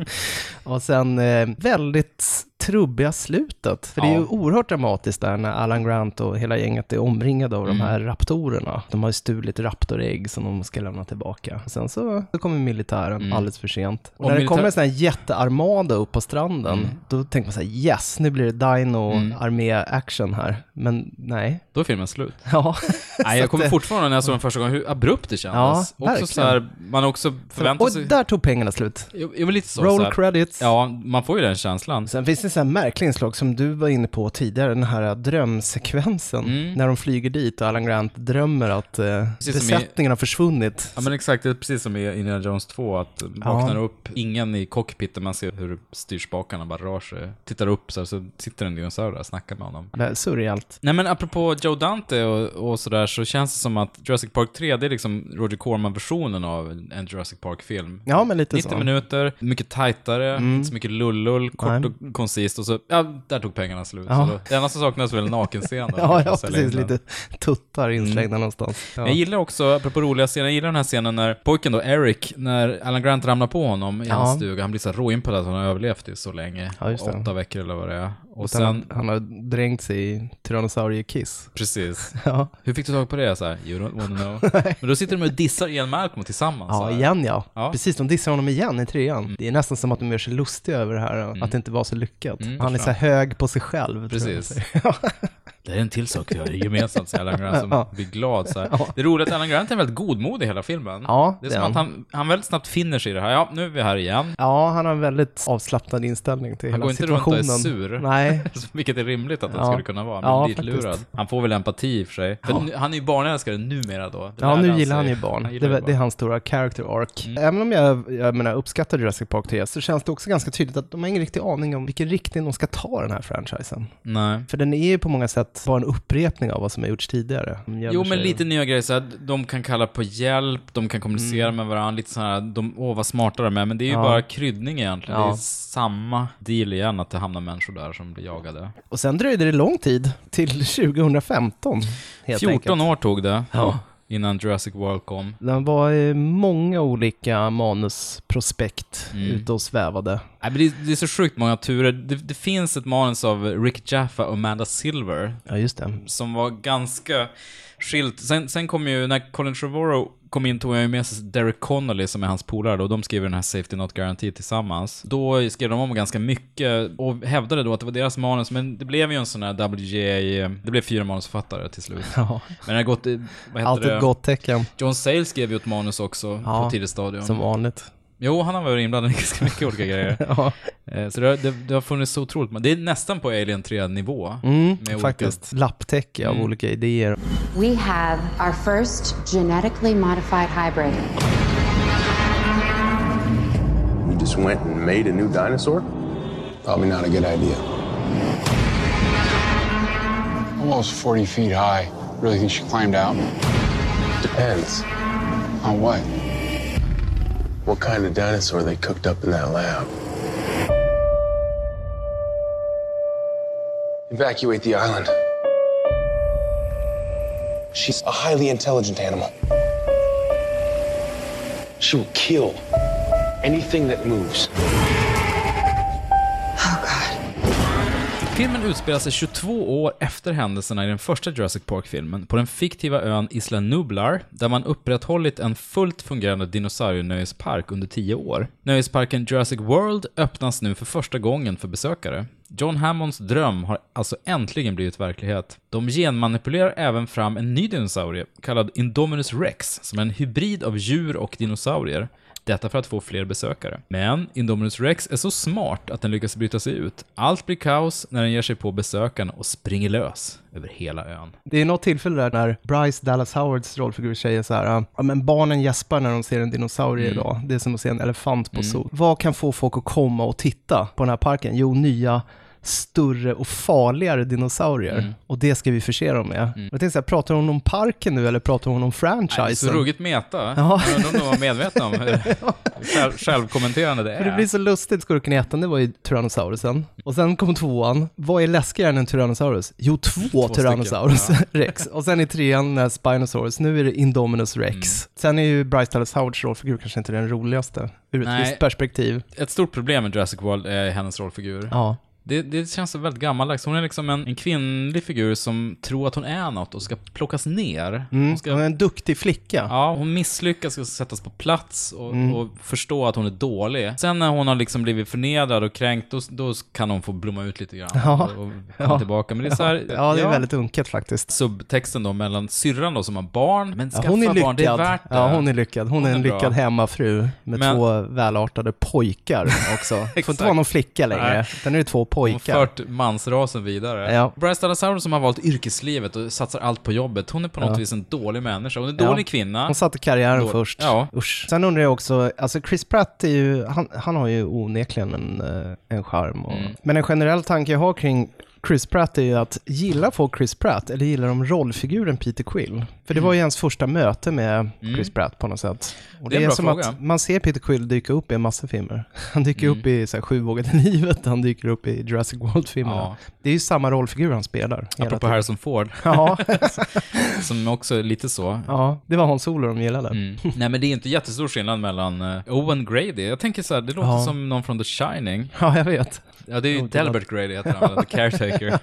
Speaker 2: Och sen eh, väldigt trubbiga slutet. För det är ju
Speaker 1: Ja.
Speaker 2: oerhört dramatiskt där när Alan Grant och hela gänget är omringade av
Speaker 1: Mm.
Speaker 2: de här raptorerna. De har ju stulit raptorägg som de ska lämna tillbaka. Sen så, så kommer militären alldeles för sent.
Speaker 1: Mm. Och
Speaker 2: Och, när det
Speaker 1: militär- Mm.
Speaker 2: kommer en sån här jättearmada upp på stranden, då tänker man så här yes, nu blir det dino-armé-action här. Men nej. [LAUGHS]
Speaker 1: Då är filmen slut.
Speaker 2: Ja.
Speaker 1: Nej,
Speaker 2: Så
Speaker 1: jag
Speaker 2: att,
Speaker 1: kommer
Speaker 2: eh,
Speaker 1: fortfarande när jag såg den första gången, hur abrupt det kändes.
Speaker 2: Ja,
Speaker 1: också så här,
Speaker 2: verkligen.
Speaker 1: man har också förväntat
Speaker 2: Och
Speaker 1: sig...
Speaker 2: där tog pengarna slut.
Speaker 1: Jo, jo, men lite så,
Speaker 2: Roll
Speaker 1: så här.
Speaker 2: credits.
Speaker 1: Ja, man får ju den känslan.
Speaker 2: Sen finns det en sån här märklig inslag som du var inne på tidigare, den här drömsekvensen. När de flyger dit och Alan Grant drömmer att eh,
Speaker 1: Mm. som i-
Speaker 2: besättningen har försvunnit.
Speaker 1: Ja men exakt, det är precis som i Indiana Jones 2, att vaknar upp, ingen i cockpiten, man ser hur styrspakarna bara rör sig. Tittar upp så, här, så sitter en dinosaurie där och snackar med honom.
Speaker 2: Det är surrealt.
Speaker 1: Nej men apropå Joe Dante och, och sådär så känns det som att Jurassic Park 3 det är liksom Roger Corman-versionen av en- en Jurassic Park-film.
Speaker 2: Ja, men lite
Speaker 1: 90
Speaker 2: så. Mm.
Speaker 1: minuter, mycket tajtare, inte så mycket lullull, kort
Speaker 2: Nej.
Speaker 1: och koncist och så, ja, där tog pengarna slut.
Speaker 2: Ja.
Speaker 1: Så då, det enda som saknas är väl nakenscenen.
Speaker 2: [LAUGHS] [LAUGHS] Ja, ja
Speaker 1: Jag säljer in
Speaker 2: precis.
Speaker 1: den.
Speaker 2: Lite tuttar inslängda
Speaker 1: Mm.
Speaker 2: någonstans. Ja.
Speaker 1: Jag gillar också, apropå roliga scener, jag gillar den här scenen när pojken då, Eric, när Alan Grant ramlar på honom i hans stuga, han blir så här råimpad att han har överlevt i så länge.
Speaker 2: Ja, just det.
Speaker 1: Åtta veckor eller vad det är. Och
Speaker 2: Utan
Speaker 1: sen,
Speaker 2: att han har dränkt sig i Tyrannosauriekiss.
Speaker 1: precis.
Speaker 2: Ja.
Speaker 1: Hur fick du tag på det? Så här, you don't wanna
Speaker 2: [LAUGHS]
Speaker 1: know. Men då sitter de och dissar Ian Malcolm tillsammans. så
Speaker 2: Ja,
Speaker 1: här.
Speaker 2: igen ja.
Speaker 1: Ja. Mm.
Speaker 2: Precis, de dissar honom igen i trean. Det är nästan som att de gör sig lustiga över det här, att det inte var så lyckat. Han är så här hög på sig själv. tror jag.
Speaker 1: Mm, Precis.
Speaker 2: [LAUGHS]
Speaker 1: Det är en till sak vi har gemensamt, säger Alan Grant, som blir glad. Så här. Det är roligt att Alan Grant är väldigt godmodig i hela filmen.
Speaker 2: Ja,
Speaker 1: det är
Speaker 2: det
Speaker 1: som
Speaker 2: är
Speaker 1: att han, han väldigt snabbt finner sig i det här. Ja, nu är vi här igen. [LAUGHS]
Speaker 2: Ja, han har en väldigt avslappnad inställning till
Speaker 1: Han
Speaker 2: hela
Speaker 1: går inte runt och
Speaker 2: situationen.
Speaker 1: är sur.
Speaker 2: Nej,
Speaker 1: Vilket är rimligt att han
Speaker 2: Ja.
Speaker 1: skulle kunna vara. Men
Speaker 2: Ja,
Speaker 1: dit
Speaker 2: faktiskt.
Speaker 1: lurad. Han får väl empati i och för sig. För nu, han är ju barnälskare numera då. [LAUGHS] Det
Speaker 2: Ja,
Speaker 1: lärde
Speaker 2: nu
Speaker 1: sig.
Speaker 2: gillar han ju barn.
Speaker 1: Han
Speaker 2: det,
Speaker 1: gillar ju
Speaker 2: var- det är
Speaker 1: barn. Mm.
Speaker 2: hans stora character arc. Även om jag, jag menar, uppskattar Jurassic Park 3 så känns det också ganska tydligt att de har ingen riktig aning om vilken riktning de ska ta den här franchisen.
Speaker 1: Nej.
Speaker 2: För den är ju på många sätt bara en upprepning av vad som har gjorts tidigare. De gömmer
Speaker 1: Jo,
Speaker 2: sig-
Speaker 1: men lite nya grejer. Så här, de kan kalla på hjälp, de kan kommunicera
Speaker 2: Mm.
Speaker 1: med varandra. Lite så här, de, åh vad smarta de är. Men det är ju bara kryddning egentligen. Det är
Speaker 2: Ja.
Speaker 1: samma deal igen, att det hamnar människor där som blir jagade.
Speaker 2: Och sen dröjde det lång tid, till [LAUGHS] 2015 helt
Speaker 1: 14
Speaker 2: enkelt.
Speaker 1: år tog det
Speaker 2: Ja.
Speaker 1: innan Jurassic World kom.
Speaker 2: Den var i många olika manusprospekt
Speaker 1: Mm.
Speaker 2: ute och svävade.
Speaker 1: Nej, men det, är- det är så sjukt många turer. Det, det finns ett manus av Rick Jaffa och Amanda Silver
Speaker 2: Ja, just det.
Speaker 1: som var ganska skilt. Sen, sen kom ju, när Colin Trevorrow kom in tog jag ju med sig Derek Connolly som är hans polare då, och de skrev den här Safety Not Guaranteed tillsammans. Då skrev de om ganska mycket och hävdade då att det var deras manus, men det blev ju en sån här WGA, det blev fyra manusförfattare till slut.
Speaker 2: Ja.
Speaker 1: Men det har gått, eh, vad heter
Speaker 2: Alltid
Speaker 1: det?
Speaker 2: ett gott tecken,
Speaker 1: John Sayles skrev ju ett manus också
Speaker 2: Ja,
Speaker 1: på tidigt stadium.
Speaker 2: som vanligt.
Speaker 1: Jo, han har varit inblandad i ganska mycket
Speaker 2: [LAUGHS]
Speaker 1: olika grejer.
Speaker 2: Ja.
Speaker 1: Eh, Så det har, det, det har funnits så otroligt många- Det är nästan på Alien 3-nivå. med
Speaker 2: Mm, Faktiskt, lapptäcke
Speaker 1: Mm.
Speaker 2: av olika idéer.
Speaker 11: We have our first genetically modified hybrid.
Speaker 3: You just went and made a new dinosaur?
Speaker 5: Probably not a good idea.
Speaker 3: Almost 40 feet high. Really think she climbed out? Depends. On what?
Speaker 12: What kind of dinosaur they cooked up in that lab? Evacuate the island. She's a highly intelligent animal. She will kill anything that moves.
Speaker 1: Filmen utspelar sig 22 år efter händelserna i den första Jurassic Park-filmen på den fiktiva ön Isla Nublar, där man upprätthållit en fullt fungerande dinosaurienöjespark under 10 år. Nöjesparken Jurassic World öppnas nu för första gången för besökare. John Hammonds dröm har alltså äntligen blivit verklighet. De genmanipulerar även fram en ny dinosaurie, kallad Indominus Rex, som är en hybrid av djur och dinosaurier. Detta för att få fler besökare. Men Indominus Rex är så smart att den lyckas bryta sig ut. Allt blir kaos när den ger sig på besökarna och springer lös över hela ön.
Speaker 2: Det är något tillfälle där när Bryce Dallas Howards rollfigur säger så här, ja men barnen gäspar när de ser en dinosaurie
Speaker 1: Mm.
Speaker 2: idag, det är som att se en elefant på
Speaker 1: Mm.
Speaker 2: zoo. Vad kan få folk att komma och titta på den här parken? Jo, nya större och farligare dinosaurier.
Speaker 1: Mm.
Speaker 2: Och det ska vi förse dem med.
Speaker 1: Mm.
Speaker 2: Jag tänkte så här, pratar hon om parken nu eller pratar hon om franchisen?
Speaker 1: Nej, det är så ruggigt meta.
Speaker 2: Ja.
Speaker 1: Jag undrar om de var medvetna om
Speaker 2: [LAUGHS]
Speaker 1: hur själv, självkommenterande det
Speaker 2: För det
Speaker 1: är.
Speaker 2: blir så lustigt, skurken i ettan, det var ju Tyrannosaurusen. Och sen kom tvåan, vad är läskigare än en Tyrannosaurus? Jo, två,
Speaker 1: Två
Speaker 2: Tyrannosaurus
Speaker 1: stycken,
Speaker 2: [LAUGHS] Rex. Och sen i trean eh, Spinosaurus, nu är det Indominus Rex.
Speaker 1: Mm.
Speaker 2: Sen är ju Bryce Dallas Howards rollfigur kanske inte den roligaste, ur ett
Speaker 1: Nej.
Speaker 2: visst perspektiv.
Speaker 1: Ett stort problem med Jurassic World är hennes rollfigur.
Speaker 2: Ja.
Speaker 1: Det, det känns så väldigt gammaldags. Hon är liksom en, en kvinnlig figur som tror att hon är något och ska plockas ner.
Speaker 2: Mm. Hon är en duktig flicka.
Speaker 1: Ja, hon misslyckas och sättas på plats och,
Speaker 2: Mm.
Speaker 1: och förstå att hon är dålig. Sen när hon har liksom blivit förnedrad och kränkt, då, då kan hon få blomma ut lite grann
Speaker 2: Ja.
Speaker 1: och, och komma
Speaker 2: Ja.
Speaker 1: tillbaka. Men det är så här,
Speaker 2: Ja, ja det är väldigt unket faktiskt.
Speaker 1: Subtexten då mellan syrran då som har barn, men
Speaker 2: Ja,
Speaker 1: skaffa
Speaker 2: hon är lyckad.
Speaker 1: barn, det är värt det.
Speaker 2: Ja, hon är lyckad. Hon,
Speaker 1: Hon
Speaker 2: är
Speaker 1: är
Speaker 2: en
Speaker 1: bra.
Speaker 2: lyckad hemmafru med
Speaker 1: Men-
Speaker 2: två välartade pojkar
Speaker 1: [LAUGHS]
Speaker 2: också. Det får inte vara någon flicka längre,
Speaker 1: Nej.
Speaker 2: utan nu är det två
Speaker 1: Hon
Speaker 2: pojkar.
Speaker 1: fört mansrasen vidare.
Speaker 2: Ja.
Speaker 1: Bryce Dallas Howard som har valt yrkeslivet och satsar allt på jobbet, hon är på något
Speaker 2: Ja.
Speaker 1: vis en dålig människa. Hon är en
Speaker 2: Ja.
Speaker 1: dålig kvinna.
Speaker 2: Hon satte karriären
Speaker 1: Dålig-
Speaker 2: först.
Speaker 1: Ja.
Speaker 2: Usch. Sen undrar jag också, alltså Chris Pratt är ju, han, han har ju onekligen en, eh, en charm. Och,
Speaker 1: Mm.
Speaker 2: Men en generell tanke jag har kring Chris Pratt är ju att gillar folk Chris Pratt eller gillar de rollfiguren Peter Quill? För det var ju ens första möte med Chris Pratt på något sätt. Och
Speaker 1: Mm. Det är en bra
Speaker 2: som
Speaker 1: fråga. Mm.
Speaker 2: att man ser Peter Quill dyka upp i en massa filmer. [LAUGHS] Han dyker upp i så här, Sjuvågade livet, han dyker upp i Jurassic World-filmerna.
Speaker 1: Ja.
Speaker 2: Det är ju samma rollfigur han spelar. hela
Speaker 1: Apropå
Speaker 2: tiden.
Speaker 1: Harrison Ford. [LAUGHS]
Speaker 2: Ja.
Speaker 1: som också är lite så.
Speaker 2: Ja, det var Hans Solo de gillade.
Speaker 1: Nej men det är inte jättestor skillnad mellan eh, Owen Grady. Jag tänker så här, det låter
Speaker 2: Ja.
Speaker 1: som någon från The Shining.
Speaker 2: Ja, jag vet.
Speaker 1: Ja, det är ju Delbert Grady heter han, väl, The Caretaker.